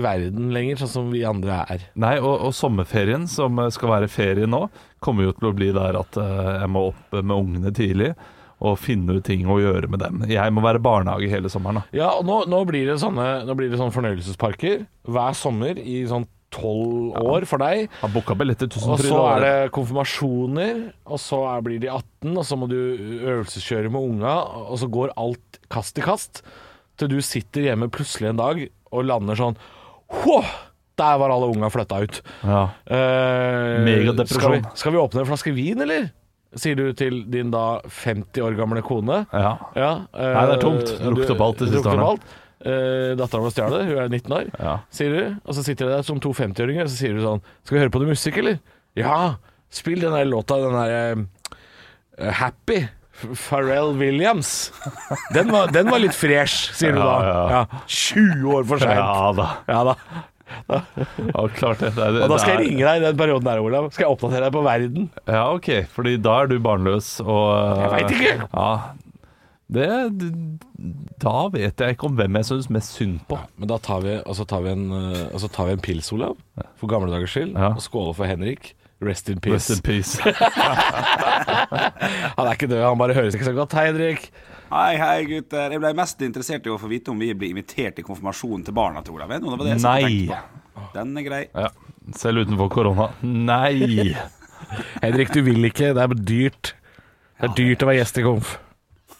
Speaker 4: i verden lenger, sånn som vi andre er.
Speaker 3: Nei, og, og sommerferien, som eh, skal være ferie nå, kommer jo til å bli der at eh, jeg må opp med ungene tidlig og finne ut ting å gjøre med dem. Jeg må være barnehage hele sommeren. da.
Speaker 4: Ja, og nå, nå blir det sånne Nå blir det sånne fornøyelsesparker hver sommer i sånn tolv år for deg.
Speaker 3: Har booka billetter tusen
Speaker 4: Og
Speaker 3: fryd
Speaker 4: så
Speaker 3: og
Speaker 4: er
Speaker 3: ære.
Speaker 4: det konfirmasjoner, og så er, blir de 18, og så må du øvelseskjøre med unga, og så går alt kast i kast, til du sitter hjemme plutselig en dag og lander sånn Hå! Der var alle unga flytta ut.
Speaker 3: Ja.
Speaker 4: Eh,
Speaker 3: Megadepresjon.
Speaker 4: Skal, vi- skal vi åpne en flaske vin, eller? Sier du til din da 50 år gamle kone.
Speaker 3: ja.
Speaker 4: Ja, eh,
Speaker 3: Nei, det er tomt.
Speaker 4: du-
Speaker 3: Lukket opp alt de siste
Speaker 4: lukket opp
Speaker 3: årene.
Speaker 4: alt. Eh, Datteren vår stjal det, hun er 19 år,
Speaker 3: Ja.
Speaker 4: sier du. Og så sitter de der som to 50-åringer, og så sier du sånn Skal vi høre på noe musikk, eller? Ja! Spill den der låta, den der eh, Happy. F- Pharrell Williams. Den var, den var litt fresh, sier du da.
Speaker 3: Ja, ja.
Speaker 4: Ja, 20 år for seint.
Speaker 3: ja da.
Speaker 4: Ja da.
Speaker 3: Ja, klart det. det, er- det
Speaker 4: Og da skal
Speaker 3: er-
Speaker 4: jeg ringe deg i den perioden der, Olav. Skal jeg oppdatere deg på verden?
Speaker 3: Ja, OK. Fordi da er du barnløs og
Speaker 4: Jeg veit ikke!
Speaker 3: Ja. Det Da vet jeg ikke om hvem jeg syns mest synd på.
Speaker 4: Men da tar vi, og så tar vi en, eh, og så tar vi en pils, Olav, for gamle dagers skyld,
Speaker 3: Ja.
Speaker 4: og skåler for Henrik. Rest in
Speaker 3: Rest
Speaker 4: peace.
Speaker 3: in peace.
Speaker 4: Han er ikke død, han bare høres ikke så godt. Hei, Henrik.
Speaker 5: Hei, hei, gutter. Jeg ble mest interessert i å få vite om vi blir invitert til konfirmasjonen til barna til Olav. Vet du, Det var det jeg satt og
Speaker 3: Nei.
Speaker 5: tenkte på. Den er grei.
Speaker 3: Ja. *laughs* Selv utenfor korona. Nei!
Speaker 4: Henrik, du vil ikke. Det er dyrt. Det er dyrt å være gjest i Konf.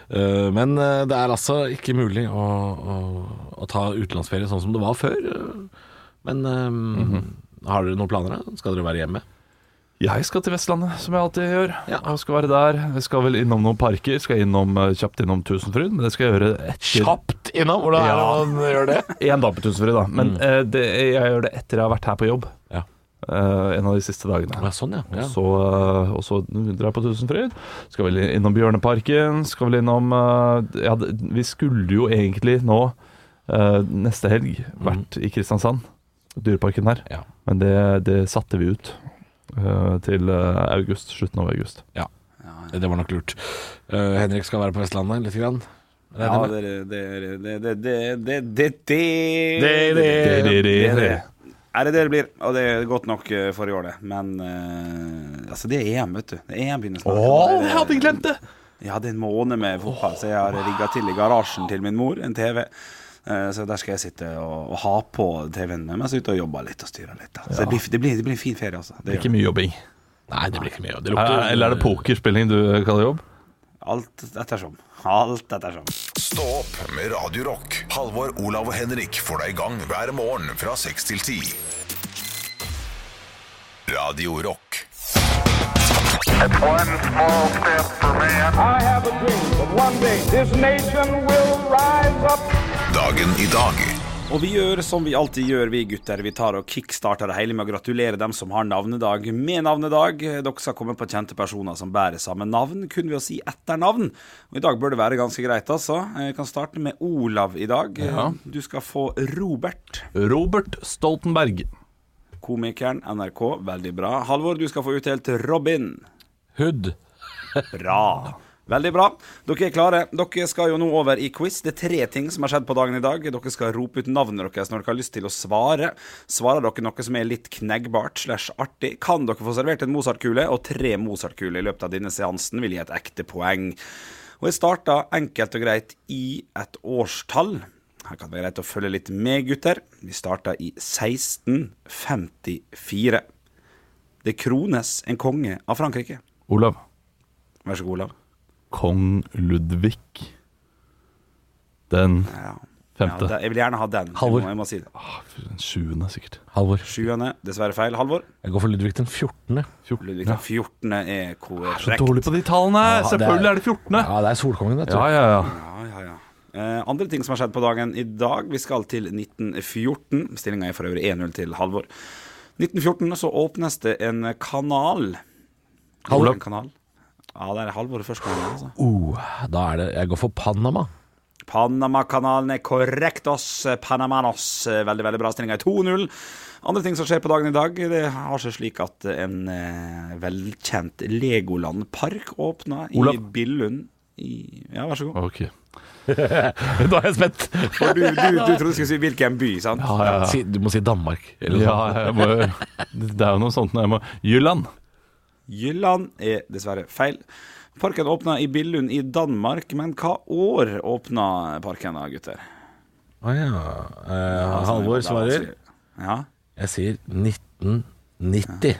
Speaker 4: Eh, men eh, det er altså ikke mulig å, å, å ta utenlandsferie sånn som det var før. Eh, Men eh,
Speaker 3: Mhm.
Speaker 4: har dere noen planer? da? Skal dere være hjemme?
Speaker 3: Jeg skal til Vestlandet, som jeg alltid gjør.
Speaker 4: Ja.
Speaker 3: Og skal være der. Jeg skal vel innom noen parker. Skal innom, eh, kjapt innom Tusenfryd. Men det skal jeg gjøre etter
Speaker 4: Kjapt innom! Hvordan er
Speaker 3: Ja.
Speaker 4: det man gjør det?
Speaker 3: Én dag på Tusenfryd, da. Men eh, det, jeg gjør det etter jeg har vært her på jobb.
Speaker 4: *laughs* Ja.
Speaker 3: Eh, en av de siste dagene.
Speaker 4: Ja, sånn, ja. ja.
Speaker 3: Så, øh, og så drar jeg på Tusenfryd. Skal vel innom Bjørneparken. Skal vel innom øh, ja, det- Vi skulle jo egentlig nå, øh, neste helg, vært i Kristiansand. Dyreparken der.
Speaker 4: Ja.
Speaker 3: eh, Men det, det satte vi ut øh, til øh, august. Slutten av august.
Speaker 4: Ja. Det var nok lurt. Eh, Henrik skal være på Vestlandet lite grann.
Speaker 5: Ja, det er det er- det er- det er- det er- det er- det er-
Speaker 3: Det- det-
Speaker 5: det er
Speaker 3: det-
Speaker 5: det. Er det det det blir? Og det er godt nok eh, forrige år, det. Men eh, altså, det er EM, vet du. Det er EM begynner snart. Og det er-
Speaker 3: glemt det!
Speaker 5: Jeg hadde en måned med fotball, så jeg har rigga til i garasjen til min mor en TV. Eh, Så der skal jeg sitte og, og ha på TV-en med mens jeg er ute og jobber litt og styrer litt. Da. Så det, blir, det, blir, det blir en fin ferie, altså. Det
Speaker 3: Det er
Speaker 5: gjør
Speaker 3: ikke
Speaker 5: det.
Speaker 3: mye jobbing.
Speaker 4: Nei, det blir ikke mye. Det
Speaker 3: Er,
Speaker 4: lukter
Speaker 3: eller er det pokerspilling du kaller jobb?
Speaker 5: Alt ettersom. Alt ettersom.
Speaker 1: Stå opp med Radio Rock. Halvor, Olav og Henrik får deg i gang hver morgen fra 6 til 10. Radio Rock.
Speaker 6: One small step for man.
Speaker 7: I have a dream that one day this nation will rise up.
Speaker 1: Dagen i dag.
Speaker 5: Og vi gjør som vi alltid gjør, vi gutter. Vi tar og kickstarter det hele med å gratulere dem som har navnedag med navnedag. Dere skal komme på kjente personer som bærer samme navn, kun ved å si etternavn. Og I dag bør det være ganske greit, altså. Jeg kan starte med Olav i dag. Du skal få Robert.
Speaker 3: Robert Stoltenberg.
Speaker 5: Komikeren, NRK, veldig bra. Halvor, du skal få utdelt Robin.
Speaker 4: Hood.
Speaker 5: Bra. Veldig bra. Dere er klare. Dere skal jo nå over i quiz. Det er tre ting som har skjedd på dagen i dag. Dere skal rope ut navnet deres når dere har lyst til å svare. Svarer dere noe som er litt kneggbart slash artig, kan dere få servert en Mozart-kule, og tre Mozart-kuler i løpet av denne seansen vil gi et ekte poeng. Og jeg starta enkelt og greit i et årstall. Her kan det være greit å følge litt med, gutter. Vi starta i 1654. Det krones en konge av Frankrike.
Speaker 3: Olav.
Speaker 5: Vær så god, Olav.
Speaker 3: Kong Ludvig den
Speaker 5: Ja.
Speaker 3: Femte.
Speaker 5: Ja, da, jeg vil gjerne ha den.
Speaker 4: Halvor.
Speaker 5: Jeg må, jeg må si det.
Speaker 3: ah, den sjuende, sikkert.
Speaker 4: Halvor.
Speaker 5: Sjuende, dessverre feil. Halvor.
Speaker 4: Jeg går for Ludvig den 14.
Speaker 5: Ludvig
Speaker 3: Ja.
Speaker 5: den 14. er korrekt.
Speaker 3: Dårlig på de tallene!
Speaker 4: Ja, det er-
Speaker 3: Selvfølgelig er det 14.
Speaker 4: Ja, det er Solkongen, vet du.
Speaker 3: Ja, ja, ja.
Speaker 5: Ja, ja, ja. Eh, andre ting som har skjedd på dagen i dag. Vi skal til 1914. Stillinga er for øvrig 1-0 til Halvor. 1914 så åpnes det en kanal.
Speaker 4: Halvor.
Speaker 5: En kanal. Ja, det er Halvor første gang. Altså.
Speaker 4: Oh, da er det Jeg går for Panama.
Speaker 5: Panamakanalen er korrekt, oss. eh, Panamanos. Eh, Veldig, veldig bra. Stillinga er 2-0. Andre ting som skjer på dagen i dag, det har seg slik at en eh, velkjent Legoland-park åpna i
Speaker 3: Olav.
Speaker 5: Billund. I, ja, vær så god.
Speaker 3: Ok.
Speaker 4: Da er jeg spent.
Speaker 5: For du, du, du trodde du skulle si hvilken by, sant?
Speaker 3: Ja, ja, ja.
Speaker 4: Si, du må si Danmark. Eller
Speaker 3: ja
Speaker 4: noe.
Speaker 3: jeg må, det er jo noe sånt når jeg må Jylland.
Speaker 5: Jylland er dessverre feil. Parken åpna i Billund i Danmark, men hva år åpna parken da, gutter?
Speaker 4: Å ja. Eh, Halvor svarer.
Speaker 5: Ja,
Speaker 4: Jeg sier 1990.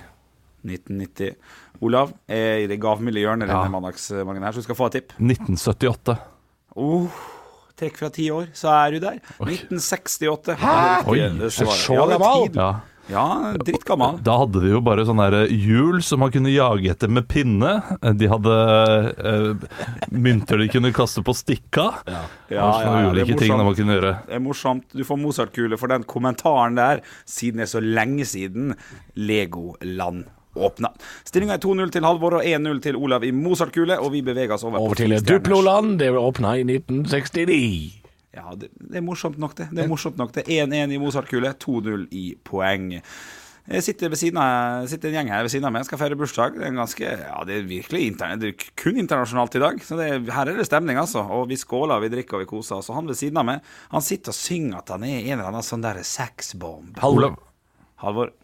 Speaker 5: 1990. Olav er i det gavmilde hjørnet denne mandagsmorgenen her, så du skal få et tipp.
Speaker 3: 1978.
Speaker 5: Oh, trekk fra ti år, så er du der. 1968.
Speaker 3: Oi,
Speaker 5: Ja, det svarer.
Speaker 4: så
Speaker 5: Ja, det er
Speaker 4: gammel.
Speaker 5: tid.
Speaker 3: Ja.
Speaker 5: Ja, drittgammal.
Speaker 3: Da hadde de jo bare sånne der eh, hjul som man kunne jage etter med pinne. De hadde eh, mynter de kunne kaste på stikka. Ja,
Speaker 5: Ja, ja, ja, det er
Speaker 3: ulike ting
Speaker 5: morsomt.
Speaker 3: man kunne gjøre.
Speaker 5: Det er morsomt. Du får Mozart-kule for den kommentaren der, siden det er så lenge siden Legoland åpna. Stillinga er 2-0 til Halvor og 1-0 til Olav i Mozart-kule, og vi beveger oss over, på
Speaker 4: Over til
Speaker 5: Filmstjerners-
Speaker 4: Duploland. Det åpna i 1969.
Speaker 5: Ja, det, det er morsomt nok, det. Det er morsomt nok, det. 1-1 i Mozart-kule, 2-0 i poeng. Jeg sitter, ved siden av, sitter en gjeng her ved siden av meg, skal feire bursdag. Det er, en ganske, ja, det er virkelig interne, det er kun internasjonalt i dag. Så det, er- her er det stemning, altså. Og vi skåler, vi drikker og vi koser oss. Og han ved siden av meg, han sitter og synger at han er en eller annen sånn derre sexbomb.
Speaker 3: Olav.
Speaker 5: Halvor.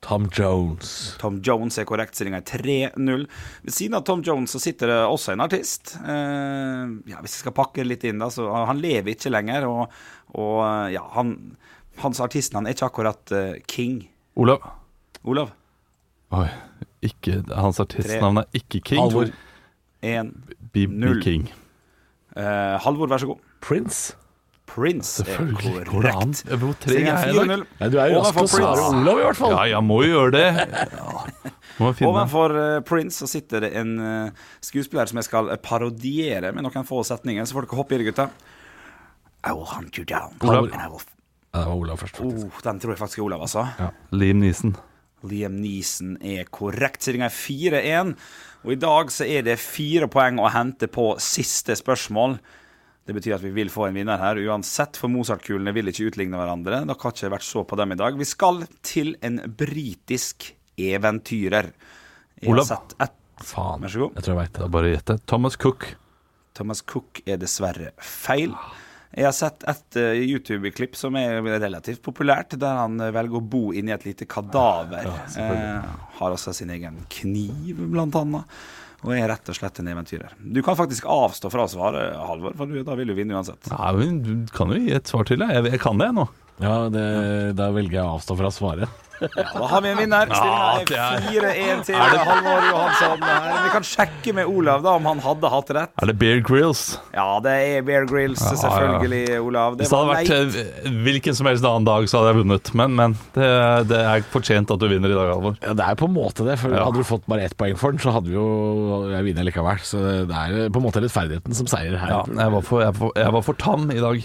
Speaker 4: Tom Jones.
Speaker 5: Tom Jones er korrekt, stillinga er 3-0. Ved siden av Tom Jones så sitter det også en artist. Eh, ja, Hvis jeg skal pakke det litt inn, da, så han lever ikke lenger. Og, og eh, ja, han, hans artistnavn er ikke akkurat eh, King.
Speaker 3: Olav.
Speaker 5: Olav?
Speaker 3: Oi, ikke, hans artistnavn er ikke King.
Speaker 4: Halvor.
Speaker 5: En.
Speaker 3: BB
Speaker 5: Null.
Speaker 3: King.
Speaker 5: Eh, Halvor, vær så god.
Speaker 4: Prince.
Speaker 5: Prince er
Speaker 3: Selvfølgelig går det an.
Speaker 5: korrekt.
Speaker 3: Hvor treg
Speaker 5: Stillinga
Speaker 3: er
Speaker 5: er
Speaker 3: jeg i dag?
Speaker 5: 4-0.
Speaker 4: Ja, du er jo rask til
Speaker 5: Overfor
Speaker 4: å svare
Speaker 5: Prince.
Speaker 4: Olav, i hvert fall.
Speaker 3: Ja, jeg må jo gjøre det. Må finne.
Speaker 5: Ovenfor eh, Prince så sitter det en eh, skuespiller som jeg skal eh, parodiere med noen få setninger. Så får dere hoppe i det, gutta. I will hunt you down.
Speaker 4: Olav.
Speaker 5: And I will
Speaker 4: Ja, det var Olav først. faktisk.
Speaker 5: Oh, den tror jeg faktisk er Olav, altså.
Speaker 3: Liam Neeson.
Speaker 5: Liam Neeson er korrekt. Stillinga er 4-1. Og i dag så er det fire poeng å hente på siste spørsmål. Det betyr at vi vil få en vinner her uansett, for Mozart-kulene vil ikke utligne hverandre. Dere har ikke vært så på dem i dag. Vi skal til en britisk eventyrer. Jeg har
Speaker 3: Olav.
Speaker 5: sett ett
Speaker 4: Faen.
Speaker 5: Vær så god.
Speaker 4: Jeg tror jeg veit
Speaker 3: Det
Speaker 4: det.
Speaker 3: er bare å gjette. Thomas Cook.
Speaker 5: Thomas Cook er dessverre feil. Jeg har sett et eh, YouTube-klipp som er relativt populært, der han eh, velger å bo inni et lite kadaver. eh, har også sin egen kniv, blant annet. Og er rett og slett en eventyrer. Du kan faktisk avstå fra å svare, Halvor, for du, da vil du vinne uansett.
Speaker 3: Nei, men du kan jo gi et svar til, jeg. Jeg, jeg kan det nå.
Speaker 4: Ja, det, da velger jeg å avstå fra å svare.
Speaker 5: Ja, da har vi en vinner. Stillingen
Speaker 3: Ja,
Speaker 5: er
Speaker 3: det
Speaker 5: 4-1 til Halvor Johansson. her. Vi kan sjekke med Olav da om han hadde hatt rett.
Speaker 3: Er det Bear Grills?
Speaker 5: Ja, det er Bear Grills,
Speaker 3: Ja, ja.
Speaker 5: selvfølgelig, Olav. Det
Speaker 3: Hvis det hadde
Speaker 5: var
Speaker 3: vært
Speaker 5: leit.
Speaker 3: eh, hvilken som helst annen dag, så hadde jeg vunnet. Men, men det, det er fortjent at du vinner i dag, Halvor.
Speaker 4: Ja, det er på en måte det, for
Speaker 3: Ja.
Speaker 4: hadde du fått bare ett poeng for den, så hadde vi jo Jeg vinner likevel. Så det er på en måte rettferdigheten som seier her.
Speaker 3: Ja, jeg var, for, jeg, var, jeg var for tam i dag.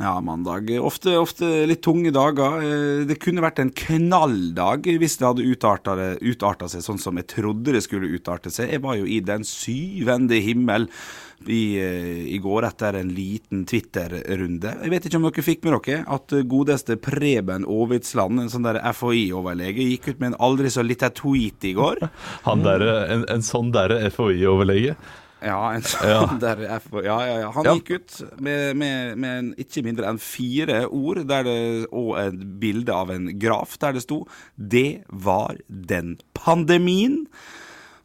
Speaker 5: Ja, mandag. Ofte, ofte litt tunge dager. Eh, Det kunne vært en knalldag hvis det hadde utarta, det- utarta seg sånn som jeg trodde det skulle utarte seg. Jeg var jo i den syvende himmel i, eh, i går etter en liten Twitter-runde. Jeg vet ikke om dere fikk med dere at eh, godeste Preben Aavitsland, en sånn der FHI-overlege, gikk ut med en aldri så liten tweet i går. Mm.
Speaker 3: Han derre- en, en sånn derre FHI-overlege.
Speaker 5: Ja, en sånn *laughs* der F ja, ja, ja. Han
Speaker 3: Ja.
Speaker 5: gikk ut med, med, med en, ikke mindre enn fire ord der det, og et bilde av en graf der det sto 'Det var den pandemien'.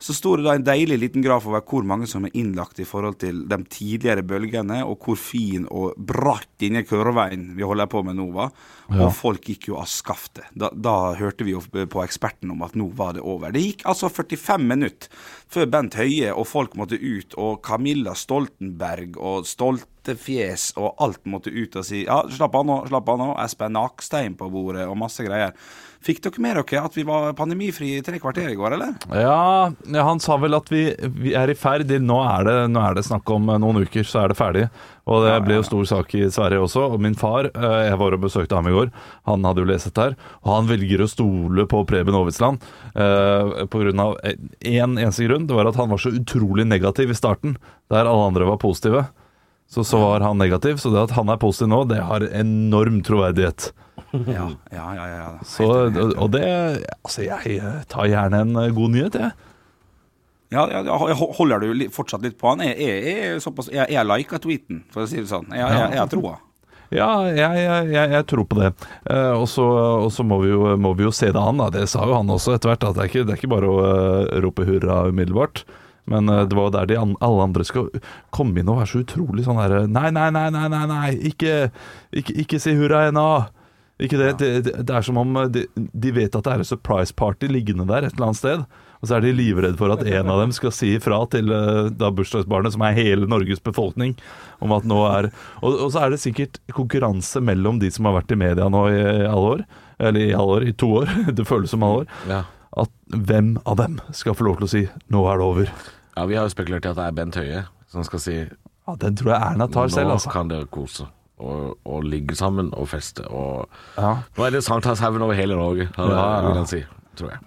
Speaker 5: Så sto det da en deilig liten graf over hvor mange som er innlagt i forhold til de tidligere bølgene, og hvor fin og bratt inni kurven vi holder på med nå var. Og folk gikk jo av skaftet. Da, da hørte vi jo på eksperten om at nå var det over. Det gikk altså 45 minutter før Bent Høie og folk måtte ut, og Camilla Stoltenberg og Stoltefjes og alt måtte ut og si ja, slapp av nå, slapp av nå, Espen Nakstein på bordet og masse greier. Fikk dere med dere at vi var pandemifri i tre kvarter i går, eller?
Speaker 3: Ja, ja, han sa vel at vi, vi er i ferd. Nå er, det, nå er det snakk om eh, noen uker, så er det ferdig. Og det ble jo stor sak i Sverige også. Og min far, eh, jeg var og besøkte ham i går, han hadde jo lest dette her. Og han velger å stole på Preben Aavitsland eh, på grunn av én en, eneste grunn. Det var at han var så utrolig negativ i starten, der alle andre var positive. Så, så var han negativ, så det at han er positiv nå, det har enorm troverdighet.
Speaker 5: Ja, Mm. ja, ja. ja, ja.
Speaker 3: Så, og og det Altså, jeg eh, tar gjerne en eh, god nyhet, jeg.
Speaker 5: ja, ja, ja ho- holder du li- fortsatt litt på han? Jeg, jeg, jeg, er såpass, jeg, jeg liker tweeten, for å si det sånn. Jeg, jeg, jeg har troa.
Speaker 3: Ja, jeg, jeg, jeg, jeg tror på det. Eh, og så og så må, vi jo- må vi jo se det an, da. Det sa jo han også etter hvert. At det, er ikke, det er ikke bare å eh, rope hurra umiddelbart. Men eh, det var jo der de an, alle andre skal komme inn og være så utrolig sånn herre Nei, nei, nei, nei, nei, nei. Ikke, ikke, ikke si hurra ennå. Ikke det, det, det, det er som om eh, de, de vet at det er en surprise party liggende der et eller annet sted. Og så er de livredde for at en av dem skal si ifra til eh, da bursdagsbarnet, som er hele Norges befolkning, om at nå er og, og så er det sikkert konkurranse mellom de som har vært i media nå i, i alle år, eller i alle år, i to år, *laughs* det føles som alle år,
Speaker 4: Ja.
Speaker 3: at hvem av dem skal få lov til å si 'nå er det over'.
Speaker 4: Ja, vi har jo spekulert i at det er Bent Høie som skal si
Speaker 3: Ja, Den tror jeg Erna tar selv,
Speaker 4: Nå
Speaker 3: altså.
Speaker 4: kan dere kose og, og ligge sammen og feste og
Speaker 3: Ja.
Speaker 4: Nå er det sankthanshaugen over hele Norge, ja, det
Speaker 3: Ja, ja.
Speaker 4: vil han si. Tror jeg.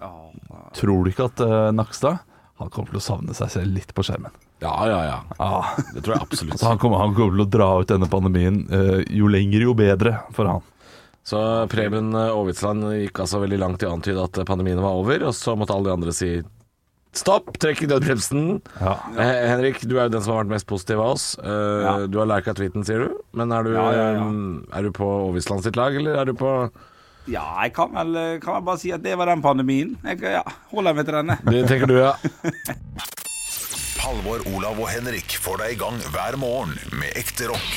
Speaker 3: Tror du ikke at eh, Nakstad han kommer til å savne seg selv litt på skjermen?
Speaker 4: Ja, ja, ja.
Speaker 3: Ah.
Speaker 4: Det tror jeg absolutt.
Speaker 3: Så han kommer, han kommer til å dra ut denne pandemien eh, jo lenger, jo bedre for han.
Speaker 4: Så Preben Aavitsland gikk altså veldig langt i å antyde at pandemien var over, og så måtte alle de andre si stopp, trekk i nødbremsen.
Speaker 3: Ja.
Speaker 4: Eh, Henrik, du er jo den som har vært mest positiv av oss. Eh, Du har lika tweeten, sier du. Men er du,
Speaker 5: Ja, ja, ja.
Speaker 4: eh, Er du på Aavitsland sitt lag, eller er du på
Speaker 5: Ja, jeg kan vel, kan vel bare si at det var den pandemien. Jeg, ja, holder meg til denne.
Speaker 4: Det tenker du, ja.
Speaker 1: Halvor, Olav og Henrik får deg i gang hver morgen med ekte rock.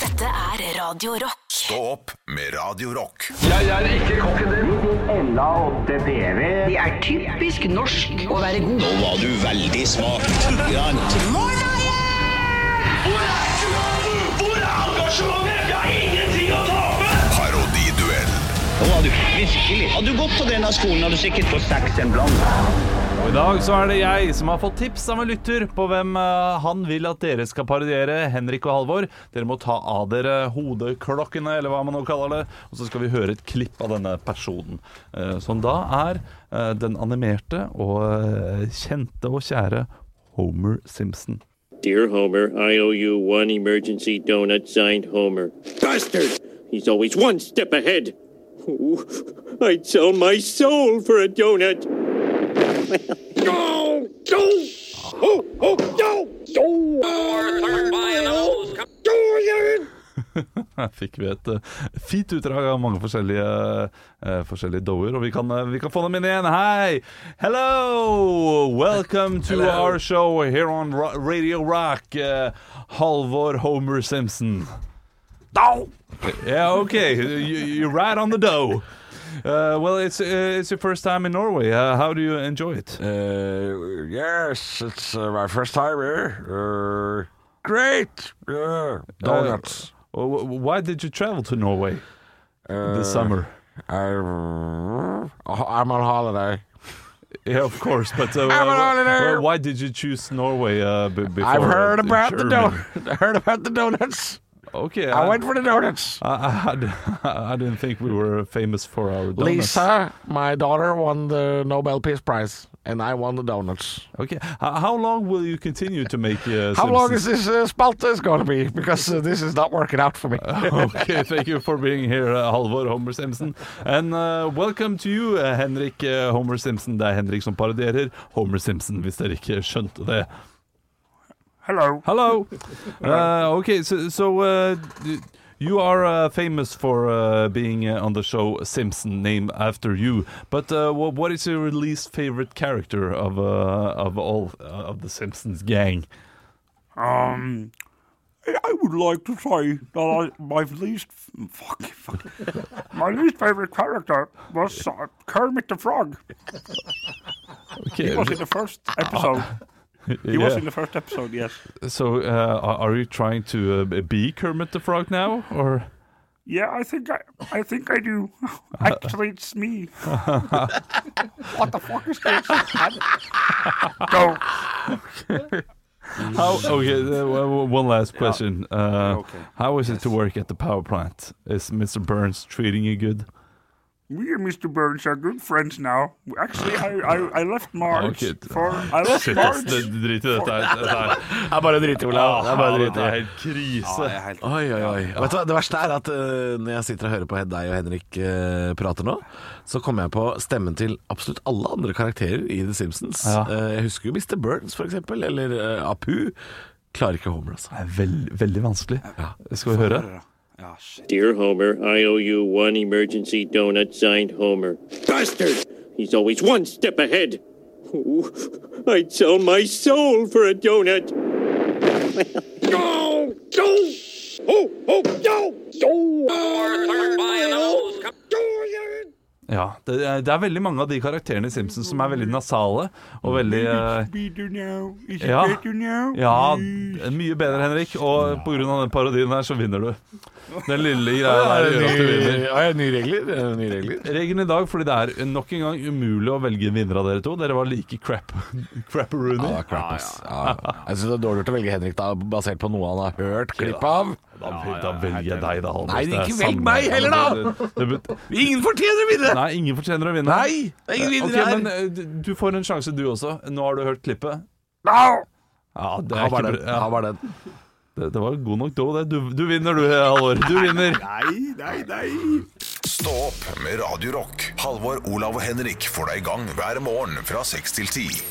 Speaker 2: Dette er Radio Rock.
Speaker 1: Stå opp med Radio Rock.
Speaker 8: Det er typisk norsk å være god. Nå var du veldig smak.
Speaker 9: Hvor er engasjementet? Jeg har ingenting å tape!
Speaker 1: Parodiduell.
Speaker 8: Nå var du virkelig. Hadde du gått på denne skolen, hadde du sikkert fått seks en blant.
Speaker 3: Og I dag så er det jeg som har fått tips av en lytter på hvem eh, han vil at dere skal parodiere, Henrik og Halvor. Dere må ta av dere hodeklokkene, eller hva man nå kaller det, og så skal vi høre et klipp av denne personen. eh, som da er eh, den animerte og eh, kjente og kjære Homer Simpson.
Speaker 10: Dear Homer, I owe you one emergency donut signed Homer. Bastard! He's always one step ahead. Ooh, I'd sell my soul for a donut. Go! Go! Oh, oh, go! Go! Go!
Speaker 3: Her fikk vi et eh, fint utdrag av mange forskjellige, eh, forskjellige doer, og vi kan, eh, vi kan få dem inn igjen. Hei! Hello! Welcome to our show here on Ra Radio Rock. eh, Halvor Homer Simpson. Dow! Yeah, okay. You, you're right on the dough. Uh, well, it's uh, it's your first time in Norway. Uh, how do you enjoy it?
Speaker 11: Uh, yes, it's uh, my first time here. Uh, great! Uh, donuts.
Speaker 3: Wh- wh- Why did you travel to Norway this summer?
Speaker 4: uh,
Speaker 11: I'm, I'm on holiday.
Speaker 3: Yeah, of course. But uh,
Speaker 11: *laughs* I'm an
Speaker 3: wh-
Speaker 11: auditor.
Speaker 3: well, why did you choose Norway uh, b- before?
Speaker 11: I've heard
Speaker 3: uh,
Speaker 11: about the
Speaker 3: Germany?
Speaker 11: donuts. I
Speaker 4: *laughs*
Speaker 11: heard about the donuts.
Speaker 3: Okay,
Speaker 11: I went for the donuts.
Speaker 3: I, I, *laughs* I, didn't think we were famous for our donuts.
Speaker 4: Lisa, my daughter, won the Nobel Peace Prize, and I won the donuts.
Speaker 3: Okay, H- how long will you continue to make uh,
Speaker 4: How long is
Speaker 3: Simpsons-
Speaker 4: this uh, spalte is going to be? Because uh, this is not working out for me.
Speaker 3: *laughs* Uh, okay, thank you for being here, uh, Halvor Homer Simpson. And uh, welcome to you, uh, Henrik uh, Homer Simpson. Det er Henrik som parodierer Homer Simpson, hvis dere ikke skjønte det.
Speaker 11: Hello.
Speaker 3: Hello. Uh, okay, so, so uh, d- you are uh, famous for uh, being uh, on the show Simpson, named after you. But uh, wha- what is your least favorite character of uh, of all uh, of the Simpsons gang?
Speaker 11: Um, I would like to say that I, my least fuck, fuck, my least favorite character was uh, Kermit the Frog.
Speaker 3: Okay,
Speaker 11: in the first episode. He
Speaker 3: yeah.
Speaker 11: the first episode. Yes.
Speaker 3: so uh, are are you trying to uh, b- be Kermit the Frog now, or?
Speaker 11: Yeah, I think I, I think I
Speaker 3: *laughs*
Speaker 11: do. Actually, it's me. what the fuck is this? Go.
Speaker 3: How, okay, uh, w- w- one last question. Uh,
Speaker 5: okay.
Speaker 3: How is it to work at the power plant? Is Mr. Burns treating you good?
Speaker 11: Me and Mr. Burns are good friends now. Actually, I, I, I left Marge
Speaker 3: Okay.
Speaker 11: for I left
Speaker 3: Oh, Shit, ass,
Speaker 11: Marge.
Speaker 3: det- drit i dette her. Dette her.
Speaker 4: Det er bare drit i, Olav. Det er bare drit i.
Speaker 3: helt krise.
Speaker 5: Ja, jeg er helt
Speaker 4: Oi, oi, oi. Vet du hva, Det verste er at eh, når jeg sitter og hører på deg og Henrik eh, prater nå, så kommer jeg på stemmen til absolutt alle andre karakterer i The Simpsons.
Speaker 3: Ja.
Speaker 4: Eh, jeg husker jo Mr. Burns, for eksempel, eller eh, Apu. Klarer ikke Homer, altså.
Speaker 3: Det er veld, veldig vanskelig. Skal vi høre?
Speaker 5: Ja, shit.
Speaker 10: Dear Homer, I owe you one emergency donut signed Homer. Bastard! He's always one step ahead. Ooh, I'd sell my soul for a donut. Go! Go! Oh, oh, go! Go! Go!
Speaker 3: Ja, det, er- det er veldig mange av de karakterene i Simpsons som er veldig nasale og veldig eh,
Speaker 11: Better now. Is it
Speaker 3: Ja.
Speaker 11: better now?
Speaker 3: Ja, mye bedre, Henrik. Og på grunn av den parodien her, så vinner du. Den lille greia der gjør at du vinner.
Speaker 4: Ja, ja, nye regler. ja, Nye regler.
Speaker 3: Regelen i dag, fordi det er nok en gang umulig å velge en vinner av dere to. Dere var like crap.
Speaker 4: Ja,
Speaker 3: Crapperoonie.
Speaker 4: det er crap, ass. Ja, ja. Jeg syns det er dårlig gjort å velge Henrik, da, basert på noe han har hørt klipp av.
Speaker 3: Da, da velger jeg deg, da, Halvor.
Speaker 4: Nei,
Speaker 3: Det er
Speaker 4: ikke velg
Speaker 3: samme-
Speaker 4: meg heller, da!
Speaker 3: Det- det-
Speaker 4: Ingen fortjener å vinne!
Speaker 3: Nei, ingen fortjener å vinne.
Speaker 4: Nei! Det er ingen
Speaker 3: Ok,
Speaker 4: vinnere her.
Speaker 3: men eh, du- du får en sjanse du også. Nå har du hørt klippet.
Speaker 4: Au!
Speaker 3: Ja, det
Speaker 4: Ha
Speaker 3: er ikke
Speaker 4: bare den.
Speaker 3: bra.
Speaker 4: Ha
Speaker 3: Ja,
Speaker 4: bare den.
Speaker 3: det, det var god nok do, det. Du, du vinner, du, Halvor. Du vinner.
Speaker 5: Nei, nei, nei.
Speaker 1: Stå opp med Radio Rock. Halvor, Olav og Henrik får deg i gang hver morgen fra 6 til 10.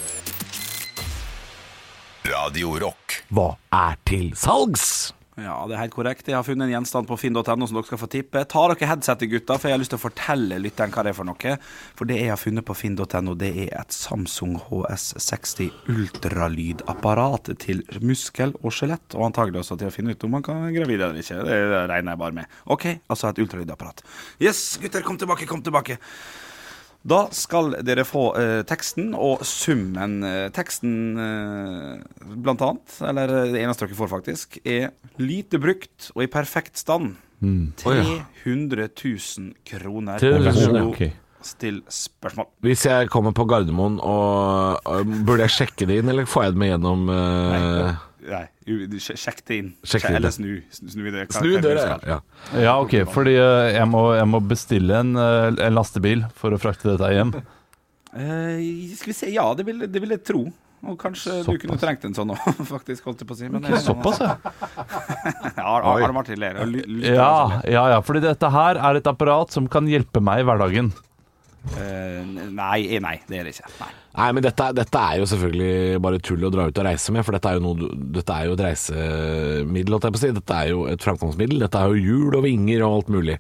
Speaker 1: Radio Rock.
Speaker 4: Hva er til salgs?
Speaker 5: Ja, det er helt korrekt. Jeg har funnet en gjenstand på finn.no som dere skal få tippe. Ta dere headsetet, gutter, for jeg har lyst til å fortelle lytteren hva det er for noe. For det jeg har funnet på finn.no, det er et Samsung HS60 ultralydapparat til muskel og skjelett. Og antagelig også til å finne ut om man kan være gravid eller ikke. Det regner jeg bare med. OK, altså et ultralydapparat. Yes, gutter, kom tilbake, kom tilbake. Da skal dere få eh, teksten og summen. Eh, teksten, eh, blant annet, eller eh, det eneste dere får, faktisk, er lite brukt og i perfekt stand. 300 000 kroner. Vær så god, Still spørsmål.
Speaker 4: Hvis jeg kommer på Gardermoen, og, og burde jeg sjekke det inn, eller får jeg det med gjennom eh,
Speaker 5: Nei, u- du, sj- sjekk det inn.
Speaker 4: Sjekk det inn.
Speaker 5: Eller snu. Snu, snu, det, hva-
Speaker 4: Snu
Speaker 5: hva du
Speaker 4: døra,
Speaker 5: skal.
Speaker 4: ja.
Speaker 3: Ja, OK, fordi eh, jeg må, jeg må bestille en, eh, en lastebil for å frakte dette hjem.
Speaker 5: Eh, skal vi se, ja, det vil, det vil jeg tro. Og kanskje
Speaker 3: Såpass.
Speaker 5: du kunne trengt en sånn òg, *laughs* faktisk, holdt jeg på å si. Men
Speaker 3: Ok, såpass,
Speaker 5: ja.
Speaker 3: Oi.
Speaker 5: Arne Martin ler. og ly- lytter altså. også.
Speaker 3: Ja, ja, ja, fordi dette her er et apparat som kan hjelpe meg i hverdagen.
Speaker 5: Eh, nei, nei, det er det ikke. Nei.
Speaker 4: Nei, men dette, dette er jo selvfølgelig bare tull å dra ut og reise med, for dette er jo, noe, du- dette er jo et reisemiddel, holdt jeg på å si. Dette er jo et framkomstmiddel. Dette er jo hjul og vinger og alt mulig.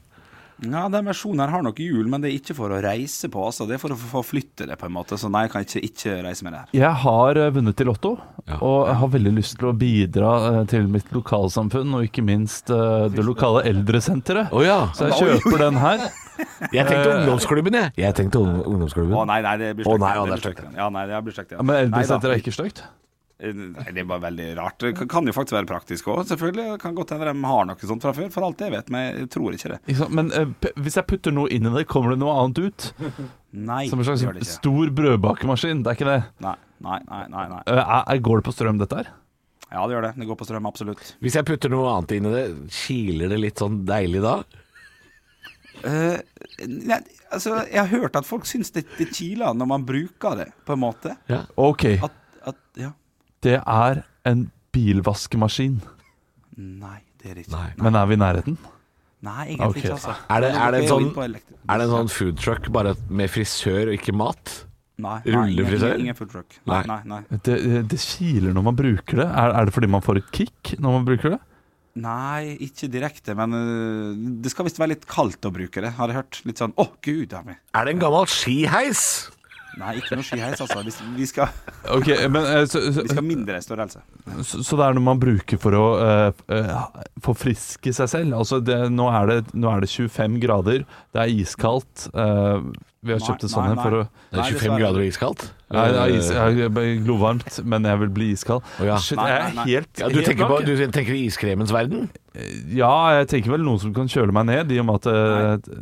Speaker 5: Ja, den versjonen her har nok hjul, men det er ikke for å reise på, altså. Det er for å forflytte det, på en måte. Så nei, jeg kan ikke, ikke reise med det her.
Speaker 3: Jeg har eh, vunnet i Lotto, og jeg har veldig lyst til å bidra eh, til mitt lokalsamfunn, og ikke minst eh, det lokale eldresenteret. Så jeg
Speaker 4: Oi.
Speaker 3: kjøper den her.
Speaker 4: Jeg tenkte
Speaker 3: Eh,
Speaker 4: ungdomsklubben, jeg. Jeg tenkte ung- ungdomsklubben.
Speaker 5: Å nei, nei, det blir
Speaker 4: Å
Speaker 5: stygt.
Speaker 4: nei, ja,
Speaker 5: det
Speaker 4: det
Speaker 5: blir
Speaker 4: er stygt.
Speaker 5: stygt. Ja, nei, det blir stygt. Ja.
Speaker 3: Ja, Men eh,
Speaker 5: Nei da.
Speaker 3: eldresenteret er ikke stygt?
Speaker 5: Eh, Nei, det er bare veldig rart. Det kan- kan jo faktisk være praktisk òg, selvfølgelig. Det kan godt hende de har noe sånt fra før, for alt jeg vet, men jeg tror ikke det.
Speaker 3: Ikke sant? Men eh, p- hvis jeg putter noe inn i det, kommer det noe annet
Speaker 5: *laughs*
Speaker 3: ut?
Speaker 5: Nei,
Speaker 3: Som en
Speaker 5: det gjør det
Speaker 3: slags
Speaker 5: ikke.
Speaker 3: stor brødbakemaskin, det er ikke det?
Speaker 5: Nei, nei, nei, nei, nei.
Speaker 3: Eh, er- er- Går det på strøm, dette her?
Speaker 5: Ja, det gjør det. Det går på strøm, absolutt.
Speaker 4: Hvis jeg putter noe annet inn i det, kiler det litt sånn deilig da?
Speaker 5: Eh, nei, altså, jeg har hørt at folk syns det, det kiler når man bruker det, på en måte.
Speaker 3: Ok,
Speaker 5: At, ja.
Speaker 3: det er en bilvaskemaskin.
Speaker 5: Nei, det er det ikke.
Speaker 3: Men er vi i nærheten?
Speaker 5: Nei, egentlig
Speaker 3: Ok.
Speaker 5: ikke, altså.
Speaker 4: Er det,
Speaker 5: Men
Speaker 4: er det
Speaker 5: dere
Speaker 4: en
Speaker 5: jo
Speaker 4: sånn,
Speaker 5: inn på elektri-
Speaker 4: er det en sånn food truck bare med frisør og ikke mat?
Speaker 5: Nei, nei,
Speaker 4: Rullefrisør?
Speaker 5: ingen- ingen food truck.
Speaker 4: Nei.
Speaker 5: Nei, nei.
Speaker 3: Det, eh, det kiler når man bruker det. Er, er det fordi man får et kick når man bruker det?
Speaker 5: Nei, ikke direkte, men øh, det skal visst være litt kaldt å bruke det, har jeg hørt. Litt sånn 'Å, gud, er vi
Speaker 4: Er det en gammel skiheis?
Speaker 5: Nei, ikke noe skiheis, altså. Vi, vi, skal,
Speaker 3: Ok, men eh, så,
Speaker 5: vi skal
Speaker 3: så,
Speaker 5: mindre i størrelse.
Speaker 3: så, så det er noe man bruker for å eh, eh, forfriske seg selv? Altså, det, nå, er det, nå er det 25 grader, det er iskaldt. eh, vi har
Speaker 5: Nei,
Speaker 3: kjøpt en sånn en
Speaker 5: nei,
Speaker 3: for å
Speaker 5: nei.
Speaker 4: Det er
Speaker 5: Nei,
Speaker 4: 25
Speaker 5: dessverre.
Speaker 4: grader og iskaldt?
Speaker 3: Nei, det er is, jeg er glovarmt, men jeg vil bli iskald.
Speaker 4: Eh. Å ja.
Speaker 3: Shit,
Speaker 5: Nei,
Speaker 3: jeg
Speaker 5: nei,
Speaker 3: er
Speaker 5: nei.
Speaker 3: helt,
Speaker 4: Ja, du,
Speaker 3: helt
Speaker 4: tenker på,
Speaker 3: blank.
Speaker 4: du tenker i iskremens verden?
Speaker 3: Ja, jeg tenker vel noe som kan kjøle meg ned, i og med at eh,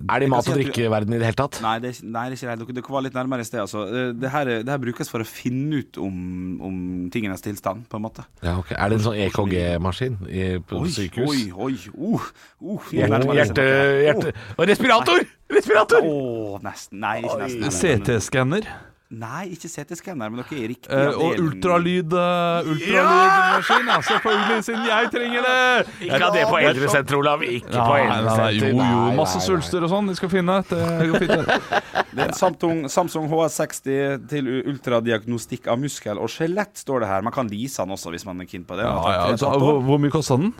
Speaker 4: Er det i mat-
Speaker 5: si
Speaker 4: og
Speaker 5: at du-
Speaker 4: drikkeverden i det hele tatt?
Speaker 5: Nei, det, er ikke- nei, det er ikke det. Dere- Dere var litt nærmere i sted, altså. Eh, Det her, det her brukes for å finne ut om, om tingenes tilstand, på en måte.
Speaker 4: Ja, ok. Er det en sånn EKG-maskin i- på sykehus?
Speaker 5: oi, oi. Uh, uh, nå
Speaker 4: Hjerte,
Speaker 5: nærmer det seg.
Speaker 4: hjerte, hjerte. Og respirator! Respirator!
Speaker 5: Å, nesten. Nei, ikke nesten. Nei, nei, nei.
Speaker 3: CT-scanner
Speaker 5: Nei, ikke CT-skanner, men dere er i riktig.
Speaker 3: eh, og
Speaker 5: avdeling.
Speaker 3: ultralyd eh, Ultralydmaskin, ja, selvfølgelig, siden jeg trenger det!
Speaker 4: Ikke ha det på eldresenteret, Olav.
Speaker 3: Nei,
Speaker 4: Ikke på
Speaker 3: nei, nei,
Speaker 4: eldresenteret.
Speaker 3: jo, jo,
Speaker 4: Nei,
Speaker 3: masse
Speaker 4: nei, nei.
Speaker 3: svulster og sånn de skal finne. Det går fint. det.
Speaker 5: Det er en Samsung, Samsung HS60 til ultradiagnostikk av muskel og skjelett, står det her. Man kan lease den også, hvis man er keen på det. Den
Speaker 3: *laughs* Ja,
Speaker 5: har
Speaker 3: ja,
Speaker 5: tatt-
Speaker 3: altså,
Speaker 5: tatt
Speaker 3: hvor,
Speaker 5: opp.
Speaker 3: hvor mye kosta den?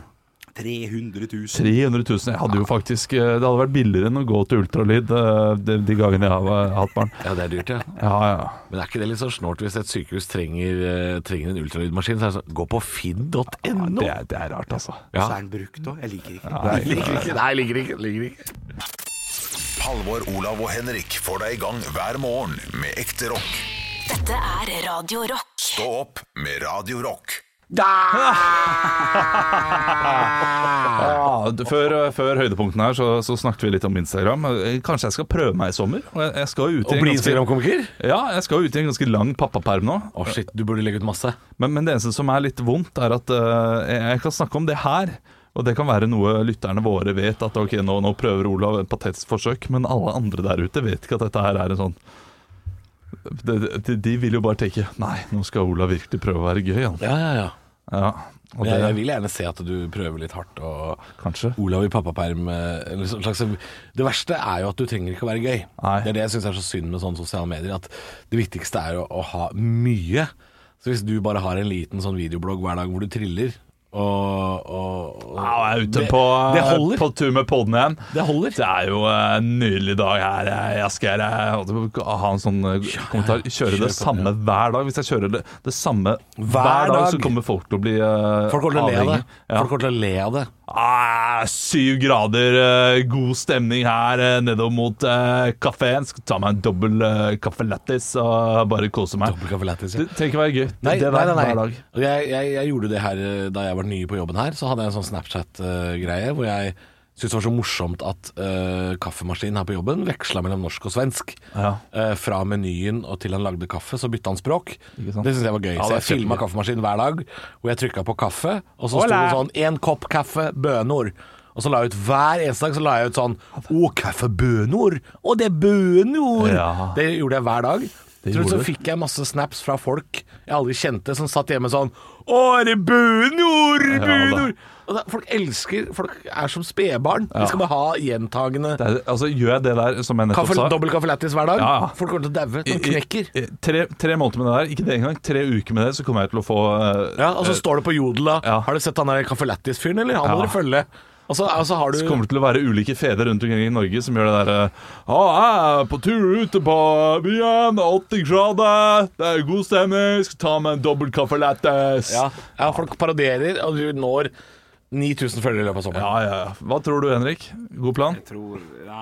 Speaker 5: 300 000.
Speaker 3: 300 000. Jeg hadde jo faktisk eh, Det hadde vært billigere enn å gå til ultralyd eh, de, de gangene jeg har eh, hatt barn.
Speaker 4: Ja, det er dyrt, ja.
Speaker 3: Ja, ja.
Speaker 4: Men er ikke det litt sånn snålt hvis et sykehus trenger, eh, trenger en ultralydmaskin? Så er det sånn, gå på finn.no.
Speaker 3: Det, er- det er rart, altså.
Speaker 5: Så er den brukt òg. Jeg liker ikke.
Speaker 4: Ligger ikke, nei, ligger ikke. Ligger ikke.
Speaker 1: Halvor, Olav og Henrik får deg i gang hver morgen med ekte rock.
Speaker 2: Dette er Radio Rock.
Speaker 1: Stå opp med Radio Rock.
Speaker 3: Ja, d- før, eh, før høydepunktene her så, så snakket vi litt om Instagram. Eh, Kanskje jeg skal prøve meg i sommer? Og jeg, jeg skal jo ut i
Speaker 4: Og
Speaker 3: en
Speaker 4: bli
Speaker 3: ganske,
Speaker 4: Instagram-komiker?
Speaker 3: ja, jeg skal jo ut i en ganske lang pappaperm nå.
Speaker 4: Å shit, du burde legge ut masse.
Speaker 3: Men, men det eneste som er litt vondt, er at eh, jeg- jeg kan snakke om det her. Og det kan være noe lytterne våre vet, at ok, nå, nå prøver Olav et patetisk forsøk. Men alle andre der ute vet ikke at dette her er en sånn de, de, de vil jo bare tenke Nei, nå skal Olav virkelig prøve å være gøy, han.
Speaker 4: Ja, ja, ja.
Speaker 3: Ja, og
Speaker 4: Men jeg, jeg
Speaker 3: det,
Speaker 4: vil gjerne se at du prøver litt hardt. Og
Speaker 3: kanskje.
Speaker 4: Olav i pappaperm eh, eller sånn slags, Det verste er jo at du trenger ikke å være gøy.
Speaker 3: Nei.
Speaker 4: Det er det jeg syns er så synd med sånne sosiale medier. At det viktigste er jo å ha mye. Så hvis du bare har en liten sånn videoblogg hver dag hvor du triller og, og, og
Speaker 3: Ja, jeg er ute
Speaker 4: det,
Speaker 3: på,
Speaker 4: det holder.
Speaker 3: på tur med podden igjen.
Speaker 4: Det holder.
Speaker 3: Det er jo eh, en nydelig dag her eh, i Asker. Jeg hadde ha en sånn eh, kommentar. Kjøre det samme hver dag. Hvis jeg kjører det, det samme hver, dag,
Speaker 4: dag.
Speaker 3: så kommer folk til å bli eh,
Speaker 4: Folk kommer til å le av det.
Speaker 3: avhengig. Ja.
Speaker 4: Folk kommer til å le av det.
Speaker 3: Ah, syv grader, eh, god stemning her eh, nedover mot eh, kafeen. Skal ta meg en dobbel eh, caffè lattis og bare kose meg.
Speaker 4: Dobbel caffè lattes, ja.
Speaker 3: Det trenger ikke være gøy. Det,
Speaker 4: Nei,
Speaker 3: det der,
Speaker 4: nei, nei,
Speaker 3: hver
Speaker 4: nei.
Speaker 3: dag.
Speaker 4: Og Jeg, jeg, jeg gjorde det her eh, da jeg var ny på jobben her. Så hadde jeg en sånn Snapchat-greie hvor jeg syntes det var så morsomt at eh, kaffemaskinen her på jobben veksla mellom norsk og svensk.
Speaker 3: Ja.
Speaker 4: Eh, fra menyen og til han lagde kaffe, så bytta han språk. Det
Speaker 3: Ikke sant?
Speaker 4: syntes jeg var gøy.
Speaker 3: Ja,
Speaker 4: så
Speaker 3: det er
Speaker 4: jeg filma
Speaker 3: kjempegøy.
Speaker 4: kaffemaskinen hver dag, hvor jeg trykka på kaffe, og så sto det sånn én kopp kaffe, bønor. Og så la jeg ut hver eneste dag så la jeg ut sånn Å, kaffe, bønor! Å, det er bønor!
Speaker 3: Ja.
Speaker 4: Det gjorde jeg hver dag.
Speaker 3: Det
Speaker 4: Tror du
Speaker 3: gjorde
Speaker 4: så
Speaker 3: du.
Speaker 4: fikk jeg masse snaps fra folk jeg aldri kjente, som satt hjemme sånn Å, er det Bunor?
Speaker 3: Ja, da.
Speaker 4: Bunor? Og da, folk elsker Folk er som spedbarn.
Speaker 3: Ja.
Speaker 4: De skal bare ha gjentagende
Speaker 3: Det er, altså, gjør jeg det der som jeg nettopp
Speaker 4: Kaffe,
Speaker 3: sa
Speaker 4: dobbel kaffe lattis hver dag.
Speaker 3: Ja, ja.
Speaker 4: Folk kommer til å daue. De
Speaker 3: I- i-
Speaker 4: knekker.
Speaker 3: i- Tre, tre måneder med det der, ikke det engang. Tre uker med det, så kommer jeg til å få eh,
Speaker 4: Ja, og så
Speaker 3: eh,
Speaker 4: står det på Jodel da
Speaker 3: Ja.
Speaker 4: Har du sett han der kaffe lattis-fyren, eller? Han må
Speaker 3: Ja.
Speaker 4: dere følge. Og så, og så har du
Speaker 3: Så kommer det til å være ulike fedre rundt omkring i Norge som gjør det derre jeg er på tur ute på byen, 80 grader, det er god stemning, skal ta med en dobbel caffè lattis.
Speaker 4: ja, ja, folk parodierer, og du når 9000 følgere i løpet av sommeren.
Speaker 3: ja, ja. ja. Hva tror du, Henrik? God plan?
Speaker 5: Jeg tror ja,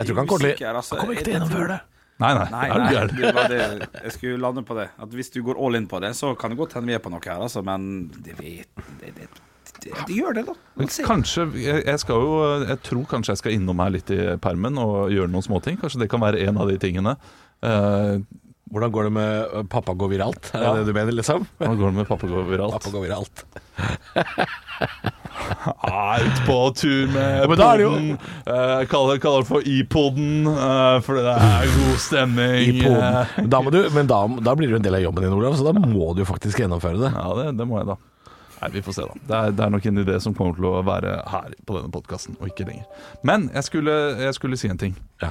Speaker 4: Jeg tror ikke han kommer til-
Speaker 5: usikker, altså.
Speaker 4: han kommer ikke til å
Speaker 5: Jeg- jeg
Speaker 4: gjennomføre
Speaker 5: tror-
Speaker 4: det.
Speaker 3: Nei, nei.
Speaker 5: Nei,
Speaker 3: er du
Speaker 5: nei
Speaker 3: gæren?
Speaker 5: det var det. jeg skulle lande på det. At Hvis du går all in på det, så kan det godt hende vi er på noe her, altså. Men det vet det, det, det, det gjør det, da.
Speaker 3: Men Kanskje, jeg jeg skal jo eh, Jeg tror kanskje jeg skal innom her litt i permen og gjøre noen småting. Kanskje det kan være en av de tingene. Eh,
Speaker 4: Hvordan går det med eh, 'pappa går viralt'? Er
Speaker 3: Ja.
Speaker 4: det det du mener, liksom? *laughs*
Speaker 3: Nå går det med papegøye overalt.
Speaker 4: Pappa går viralt.
Speaker 3: Ut på tur med
Speaker 4: men da er det jo-
Speaker 3: poden. Eh, kaller, kaller det for iPoden, eh, fordi det er god stemning.
Speaker 4: I
Speaker 3: Eh,
Speaker 4: poden. Da må du, men da, da blir du en del av jobben din, Olav, så da må du jo faktisk gjennomføre det.
Speaker 3: Ja, det, det må jeg da. Nei, Vi får se, da. Det er, det er nok en idé som kommer til å være her på denne podkasten, og ikke lenger. Men jeg skulle, jeg skulle si en ting.
Speaker 4: Ja.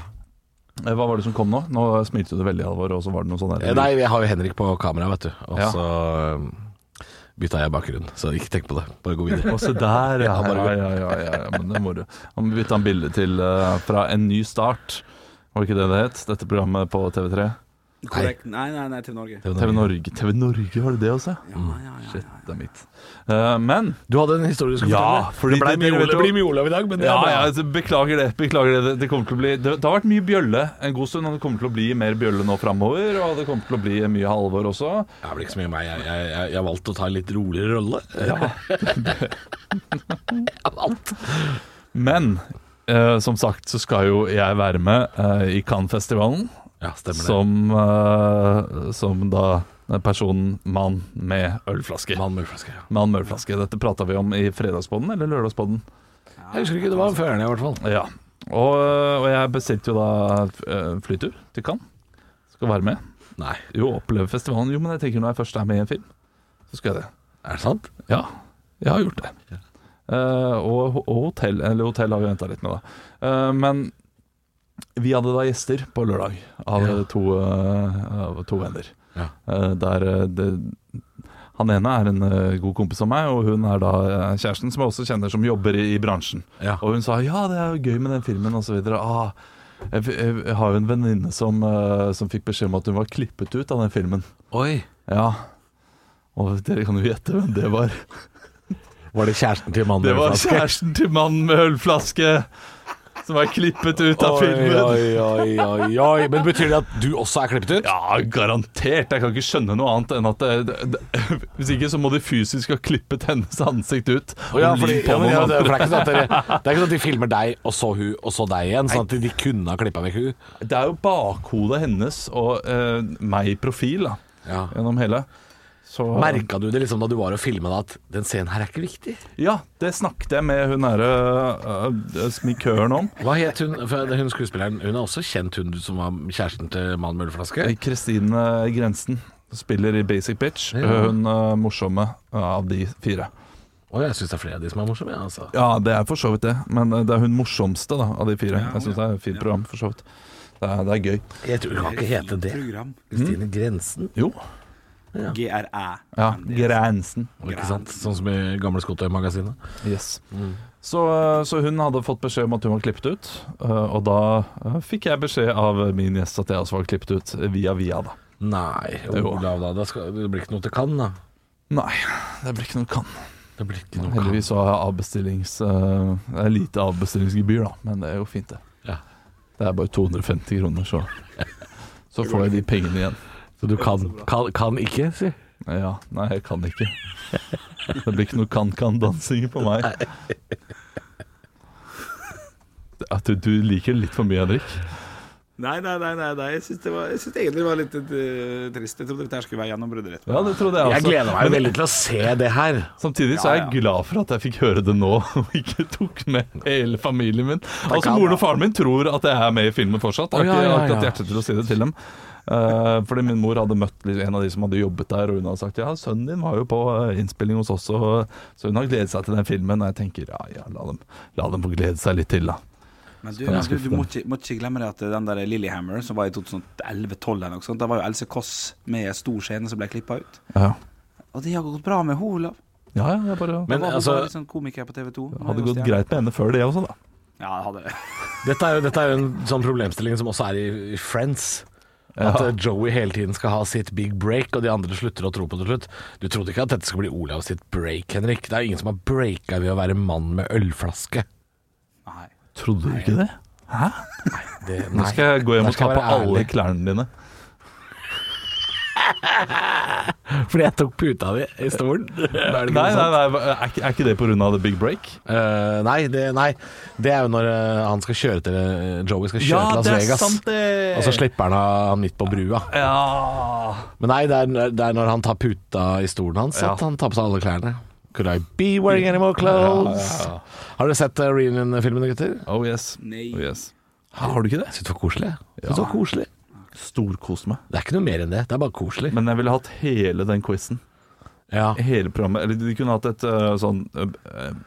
Speaker 3: Eh, Hva var det som kom nå? Nå smilte du veldig, Alvor, og så var det noe sånn
Speaker 4: Eh,
Speaker 3: der
Speaker 4: Nei, jeg har jo Henrik på kamera, vet du. Og
Speaker 3: Ja.
Speaker 4: så eh, bytta jeg bakgrunn, så ikke tenk på det. Bare *laughs* gå videre.
Speaker 3: Og se der, ja.
Speaker 4: Ja,
Speaker 3: Ja,
Speaker 4: bare
Speaker 3: ja, ja, ja, ja men det er moro. Han bytta en bilde til eh, fra En ny start. Var det ikke det det het, dette programmet på TV3?
Speaker 5: Korrekt. Nei, nei, nei, til Norge.
Speaker 3: TV Norge, TV Norge har det det også? Ja, ja, ja, Shit, det er mitt. Eh, men
Speaker 4: Du hadde en historie du skulle
Speaker 3: Ja, fordi
Speaker 4: fortelle. Det, ble
Speaker 3: det blir-
Speaker 4: mye Olav-
Speaker 3: vet du-
Speaker 4: det blir mye Olav i dag, men det
Speaker 3: Ja,
Speaker 4: er bra.
Speaker 3: ja, altså, beklager det. Beklager det. Det, det kommer til å bli det, det har vært mye bjølle en god stund, og det kommer til å bli mer bjølle nå framover. Og det kommer til å bli mye halvor også.
Speaker 4: Det er vel ikke så mye meg. Jeg, jeg, jeg, jeg valgte å ta en litt roligere rolle. Jeg valgte.
Speaker 3: Men eh, som sagt så skal jo jeg være med eh, i Cannes-festivalen,
Speaker 4: *laughs* Ja, stemmer det.
Speaker 3: som, eh, som da personen mann med ølflaske.
Speaker 4: Mann med ølflaske, ja.
Speaker 3: Mann med ølflaske. Dette prata vi om i fredagspodden eller lørdagspodden.
Speaker 4: Jeg husker ikke, det var før den i hvert fall.
Speaker 3: Ja. Og, og jeg bestilte jo da eh, flytur til Cannes. Skal være med.
Speaker 4: Nei,
Speaker 3: Jo, oppleve festivalen. Jo, men jeg tenker når jeg først er med i en film, så skal jeg det.
Speaker 4: er det sant?
Speaker 3: Ja, jeg har gjort det. Eh, og, og hotell Eller hotell har vi venta litt med, da. Eh, men vi hadde da gjester på lørdag av
Speaker 4: Ja.
Speaker 3: to, eh, av to venner.
Speaker 4: Ja.
Speaker 3: Eh, der eh, det, Han ene er en eh, god kompis av meg, og hun er da eh, kjæresten som jeg også kjenner, som jobber i, i bransjen.
Speaker 4: Ja.
Speaker 3: Og hun sa ja, det er jo gøy med den filmen, osv. Ah, jeg, jeg, jeg har jo en venninne som, eh, som fikk beskjed om at hun var klippet ut av den filmen.
Speaker 4: Oi.
Speaker 3: Ja. Og dere kan jo gjette hvem det var.
Speaker 4: Var det kjæresten til mannen
Speaker 3: Det
Speaker 4: med
Speaker 3: var
Speaker 4: ølflaske?
Speaker 3: kjæresten til mannen med ølflaske som er klippet ut av filmen.
Speaker 4: Oi, oi, oi, oi, oi. Men betyr det at du også er klippet ut?
Speaker 3: Ja, garantert. Jeg kan ikke skjønne noe annet enn at det, det, det, *laughs* Hvis ikke så må de fysisk ha klippet hennes ansikt ut.
Speaker 4: Å Ja,
Speaker 3: og
Speaker 4: fordi,
Speaker 3: limt på
Speaker 4: ja, men,
Speaker 3: noen
Speaker 4: ja,
Speaker 3: andre.
Speaker 4: det, for det, er ikke sånn at dere, det er ikke sånn at de filmer deg, og så hun, og så deg igjen. Sånn at de kunne ha klippa vekk hun.
Speaker 3: det er jo bakhodet hennes og eh, meg i profil da,
Speaker 4: Ja.
Speaker 3: gjennom hele. Så,
Speaker 4: Merka du det liksom da du var og filma at den scenen her er ikke viktig?
Speaker 3: Ja, det snakket jeg med hun derre eh, sminkøren om.
Speaker 4: Hva het hun, for hun skuespilleren? Hun er også kjent, hun som var kjæresten til mannen med ølflaske.
Speaker 3: Kristine Grensen spiller i Basic Bitch.
Speaker 4: Ja.
Speaker 3: Hun eh, morsomme av de fire.
Speaker 4: Og jeg syns det er flere av de som er morsomme. ja, Altså.
Speaker 3: Ja, det er for så vidt det. Men eh, det er hun morsomste da, av de fire. jeg syns det er et fint program, for så vidt. Det er, det er gøy.
Speaker 4: Jeg tror hun kan ikke hete det.
Speaker 5: Program.
Speaker 4: Kristine Grensen,
Speaker 3: Jo.
Speaker 5: GRE.
Speaker 3: Ja, Grensen.
Speaker 4: ikke sant? Sånn som i Gamle Skotøy-magasinet.
Speaker 3: Yes.
Speaker 4: Mm.
Speaker 3: Så, eh, så hun hadde fått beskjed om at hun var klippet ut. eh, Og da eh, fikk jeg beskjed av min gjest at jeg også var klippet ut, via via, da.
Speaker 4: Nei,
Speaker 3: Jo.
Speaker 4: Olav, da. Det, skal, det blir ikke noe til Cannes, da.
Speaker 3: Nei, det blir ikke noe kan.
Speaker 4: Det blir ikke noe Cannes.
Speaker 3: Heldigvis så har jeg avbestillings... eh, det er lite avbestillingsgebyr, da, men det er jo fint, det.
Speaker 4: Ja.
Speaker 3: Det er bare 250 kroner,
Speaker 4: *laughs*
Speaker 3: så Så får jeg de pengene igjen.
Speaker 4: Så du kan, kan, kan ikke, si.
Speaker 3: Ja, nei, jeg kan ikke. Det blir ikke noe kan-kan-dansing på meg. At du, du liker det litt for mye, Henrik.
Speaker 5: Nei, nei, nei, nei, nei. jeg syns det var- jeg syns egentlig det var litt eh, trist. Jeg trodde dette her skulle være gjennombruddet ditt.
Speaker 3: Ja, det trodde jeg
Speaker 4: Jeg
Speaker 3: også.
Speaker 4: gleder meg jo veldig til å se Altså, det her.
Speaker 3: Samtidig så er jeg glad for at jeg fikk høre det nå, *laughs* og ikke tok med hele familien min. Altså, moren og faren min tror at jeg er med i filmen fortsatt. Jeg
Speaker 4: Å, ja,
Speaker 3: har ikke
Speaker 4: ja,
Speaker 3: akkurat
Speaker 4: ja.
Speaker 3: hjerte til å si det til dem. Eh, fordi min mor hadde møtt litt- en av de som hadde jobbet der, og hun hadde sagt ja, sønnen din var jo på eh, innspilling hos oss, og, så hun har gledet seg til den filmen. Og jeg tenker ja, ja, la dem, la dem få glede seg litt til, da.
Speaker 5: Men
Speaker 3: Så
Speaker 5: du,
Speaker 3: kan jeg
Speaker 5: men du,
Speaker 3: skuffe
Speaker 5: du må, ikke, må ikke glemme det at den der Lillehammer som var i 2011-12 eller noe sånt, da var jo Else Kåss med en stor scene som ble klippa ut.
Speaker 3: Ja.
Speaker 5: Og det har gått bra med henne, Olav.
Speaker 3: Ja, ja, det er bare
Speaker 5: Men,
Speaker 4: Men,
Speaker 5: var
Speaker 4: altså-
Speaker 5: altså, litt sånn komiker på TV 2.
Speaker 3: Hadde gått greit med henne før det også, da.
Speaker 5: Ja, det hadde det.
Speaker 4: Dette er, jo, dette er jo en sånn problemstilling som også er i, i Friends. At
Speaker 3: Ja.
Speaker 4: eh, Joey hele tiden skal ha sitt big break, og de andre slutter å tro på det til slutt. Du trodde ikke at dette skulle bli Olav sitt break, Henrik. Det er jo ingen som har breaka ved å være mann med ølflaske.
Speaker 5: Nei.
Speaker 3: Trodde du ikke det? Hæ?
Speaker 4: Det,
Speaker 3: Nå skal jeg gå hjem og
Speaker 4: Der
Speaker 3: ta
Speaker 4: skal jeg
Speaker 3: på
Speaker 4: være
Speaker 3: alle
Speaker 4: ærlig.
Speaker 3: klærne dine.
Speaker 4: Fordi jeg tok puta di i stolen. Er det ikke
Speaker 3: *laughs* Nei,
Speaker 4: noe
Speaker 3: nei,
Speaker 4: sånt?
Speaker 3: nei, er ikke- er ikke det pga. the big break?
Speaker 4: Eh, nei, det, nei, det er jo når eh, han skal kjøre til eh, Joey skal kjøre til Las Vegas.
Speaker 3: det!
Speaker 4: Og så slipper han av han midt på brua.
Speaker 3: Ja
Speaker 4: Men nei, det er, det er når han tar puta i stolen hans
Speaker 3: Ja.
Speaker 4: at han tar på seg alle klærne. Could I be wearing any more clothes? Har dere sett eh, reunion-filmene, gutter?
Speaker 3: Oh yes.
Speaker 5: Nei.
Speaker 3: Oh, yes. Har du ikke det?
Speaker 4: Syns det var koselig. Synes det, var koselig.
Speaker 3: Storkost meg.
Speaker 4: det er ikke noe mer enn det. Det er bare koselig.
Speaker 3: Men jeg ville hatt hele den quizen.
Speaker 4: Ja,
Speaker 3: Hele programmet. Eller de kunne hatt et øh, sånn øh,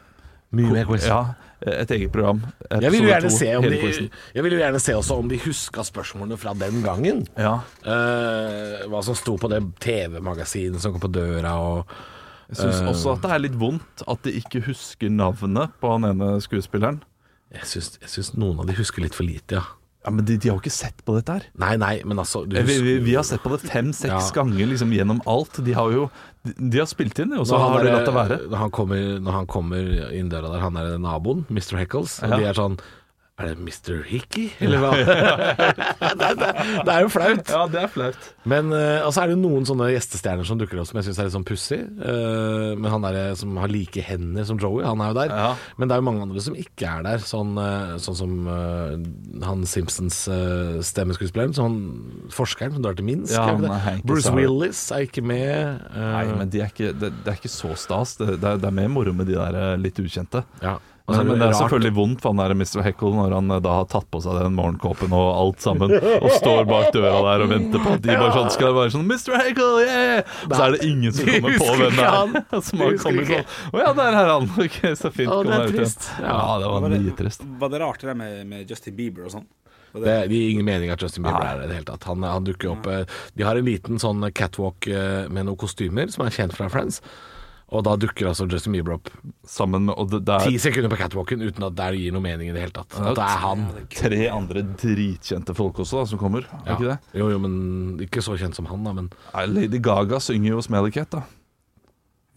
Speaker 4: mye mer quiz.
Speaker 3: Ja, et eget program.
Speaker 4: Jeg vil,
Speaker 3: Episode
Speaker 4: jo gjerne
Speaker 3: to,
Speaker 4: se om
Speaker 3: hele
Speaker 4: de,
Speaker 3: quizen.
Speaker 4: jeg vil jo gjerne se også om de huska spørsmålene fra den gangen.
Speaker 3: Ja.
Speaker 4: Eh, hva som sto på det TV-magasinet som kom på døra og
Speaker 3: Jeg syns
Speaker 4: Eh.
Speaker 3: også at det er litt vondt at de ikke husker navnet på han ene skuespilleren.
Speaker 4: Jeg syns, jeg syns noen av de husker litt for lite, ja.
Speaker 3: Ja, Men de, de har jo ikke sett på dette her.
Speaker 4: Nei, nei, men altså du
Speaker 3: Eh, Vi, vi,
Speaker 4: husker-
Speaker 3: vi har sett på det fem-seks
Speaker 4: Ja.
Speaker 3: ganger liksom, gjennom alt. De har jo de, de har spilt inn, og så
Speaker 4: Når han eh,
Speaker 3: har de
Speaker 4: der-
Speaker 3: latt det være.
Speaker 4: Når han kommer, når han kommer inn døra der, han er naboen, Mr. Heckles, og
Speaker 3: Ja.
Speaker 4: de er sånn Er det Mr.
Speaker 3: *laughs*
Speaker 4: Hickey, eller hva? *laughs* det, er- det, er- det er jo flaut.
Speaker 3: Ja, det er flaut.
Speaker 4: Men eh, altså er det jo noen sånne gjestestjerner som dukker opp som jeg syns er litt sånn pussig. Eh, men han der som har like hender som Joey, han er jo der.
Speaker 3: Ja.
Speaker 4: Men det er jo mange andre som ikke er der. Sånn, eh, sånn som eh, han Simpsons eh, stemmeskuespilleren, sånn forskeren som drar til Minsk.
Speaker 3: Ja,
Speaker 4: er det ikke
Speaker 3: han er
Speaker 4: det?
Speaker 3: ikke
Speaker 4: Bruce
Speaker 3: så-
Speaker 4: Willis er ikke med. eh,
Speaker 3: Nei, men de er ikke, det, det er ikke så stas. Det, det, er, det er mer moro med de der eh, litt ukjente.
Speaker 4: ja.
Speaker 3: Men, men det er
Speaker 4: rart-
Speaker 3: selvfølgelig vondt for han der Mr. Heckle når han eh, da har tatt på seg den morgenkåpen og alt sammen, og står bak døra der og venter på at de bare sånn skal være sånn Mr. Heckle, yeah! Og så er det ingen som
Speaker 4: De
Speaker 3: kommer på
Speaker 4: husker
Speaker 3: hvem det
Speaker 4: ikke
Speaker 3: er.
Speaker 4: han.
Speaker 3: *laughs* Som
Speaker 4: De
Speaker 3: har
Speaker 4: husker
Speaker 3: kommet
Speaker 4: ikke.
Speaker 3: sånn Å ja, der er han! *laughs* Ok, så fint.
Speaker 4: Å, det
Speaker 3: kom
Speaker 4: er
Speaker 3: deg ut igjen.
Speaker 4: trist.
Speaker 3: Ja, det var nitrist.
Speaker 5: Var det rart det der med, med Justin Bieber og sånn? Var
Speaker 4: Det,
Speaker 5: det-
Speaker 4: det gir ingen mening at Justin Bieber er der i det hele tatt. Han, han dukker opp eh, De har en liten sånn catwalk eh, med noen kostymer som er kjent fra Friends. Og da dukker altså Justin Bieber opp
Speaker 3: Sammen med Og det, det
Speaker 4: ti
Speaker 3: er
Speaker 4: sekunder på catwalken uten at det gir noe mening i det hele tatt. At det er han.
Speaker 3: tre andre dritkjente folk også da, som kommer, er ikke det?
Speaker 4: Ja. Jo, jo, men ikke så kjent som han, da. Men
Speaker 3: Nei, Lady Gaga synger jo 'Smelly Cat', da.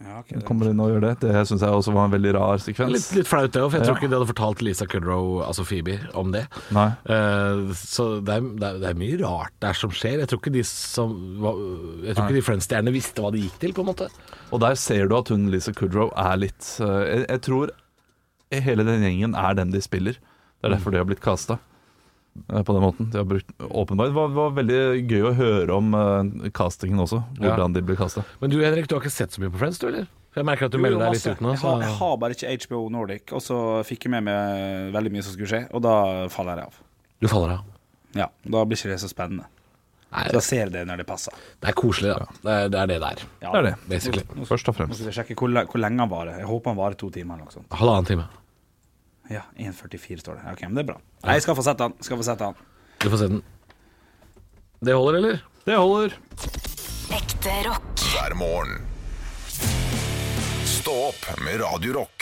Speaker 5: Ja, ok,
Speaker 3: Hun
Speaker 5: det-
Speaker 3: kommer inn og gjør det. Det syns jeg også var en veldig rar
Speaker 4: litt,
Speaker 3: sekvens.
Speaker 4: litt flaut det òg, for jeg tror ikke de hadde fortalt Lisa Kudrow, altså Phoebe, om det.
Speaker 3: Nei.
Speaker 4: Eh, så det er, det, er, det er mye rart der som skjer. Jeg tror ikke de, som var- jeg tror ikke de Friends-stjernene visste hva de gikk til, på en måte.
Speaker 3: Og der ser du at hun Lisa Kudrow er litt eh, jeg, jeg tror hele den gjengen er dem de spiller.
Speaker 5: Mm.
Speaker 3: Det er derfor de har blitt kasta på den måten. De har brukt, åpenbart, det var, var veldig gøy å høre om eh, castingen også,
Speaker 4: Ja.
Speaker 3: hvordan de ble kasta.
Speaker 4: Men du Henrik, du har ikke sett så mye på Friends, du eller? For jeg merker at du
Speaker 5: Jo, jo,
Speaker 4: melder deg litt
Speaker 5: masse.
Speaker 4: ut nå.
Speaker 5: Jeg
Speaker 4: Så...
Speaker 5: har, jeg har bare ikke HBO Nordic, og så fikk jeg med meg veldig mye som skulle skje, og da faller jeg av.
Speaker 4: Du faller av.
Speaker 5: Ja, Da blir ikke det så spennende.
Speaker 4: Nei,
Speaker 5: Så jeg ser det når det passer.
Speaker 4: det er koselig, da. Det er det er det der,
Speaker 5: Ja,
Speaker 3: Det er det,
Speaker 4: basically.
Speaker 3: først og
Speaker 5: Nå
Speaker 3: fremst.
Speaker 5: skal jeg sjekke hvor, le- hvor lenge han varer. Jeg håper han varer to timer. eller noe sånt
Speaker 4: Halvannen time.
Speaker 5: Ja, 1,44 står det. Ok, men Det er bra. Nei, jeg skal få sett han. Skal få sett han.
Speaker 4: Du får se den. Det holder, eller?
Speaker 3: Det holder.
Speaker 2: Ekte rock.
Speaker 1: hver morgen. Stå opp med Radio Rock.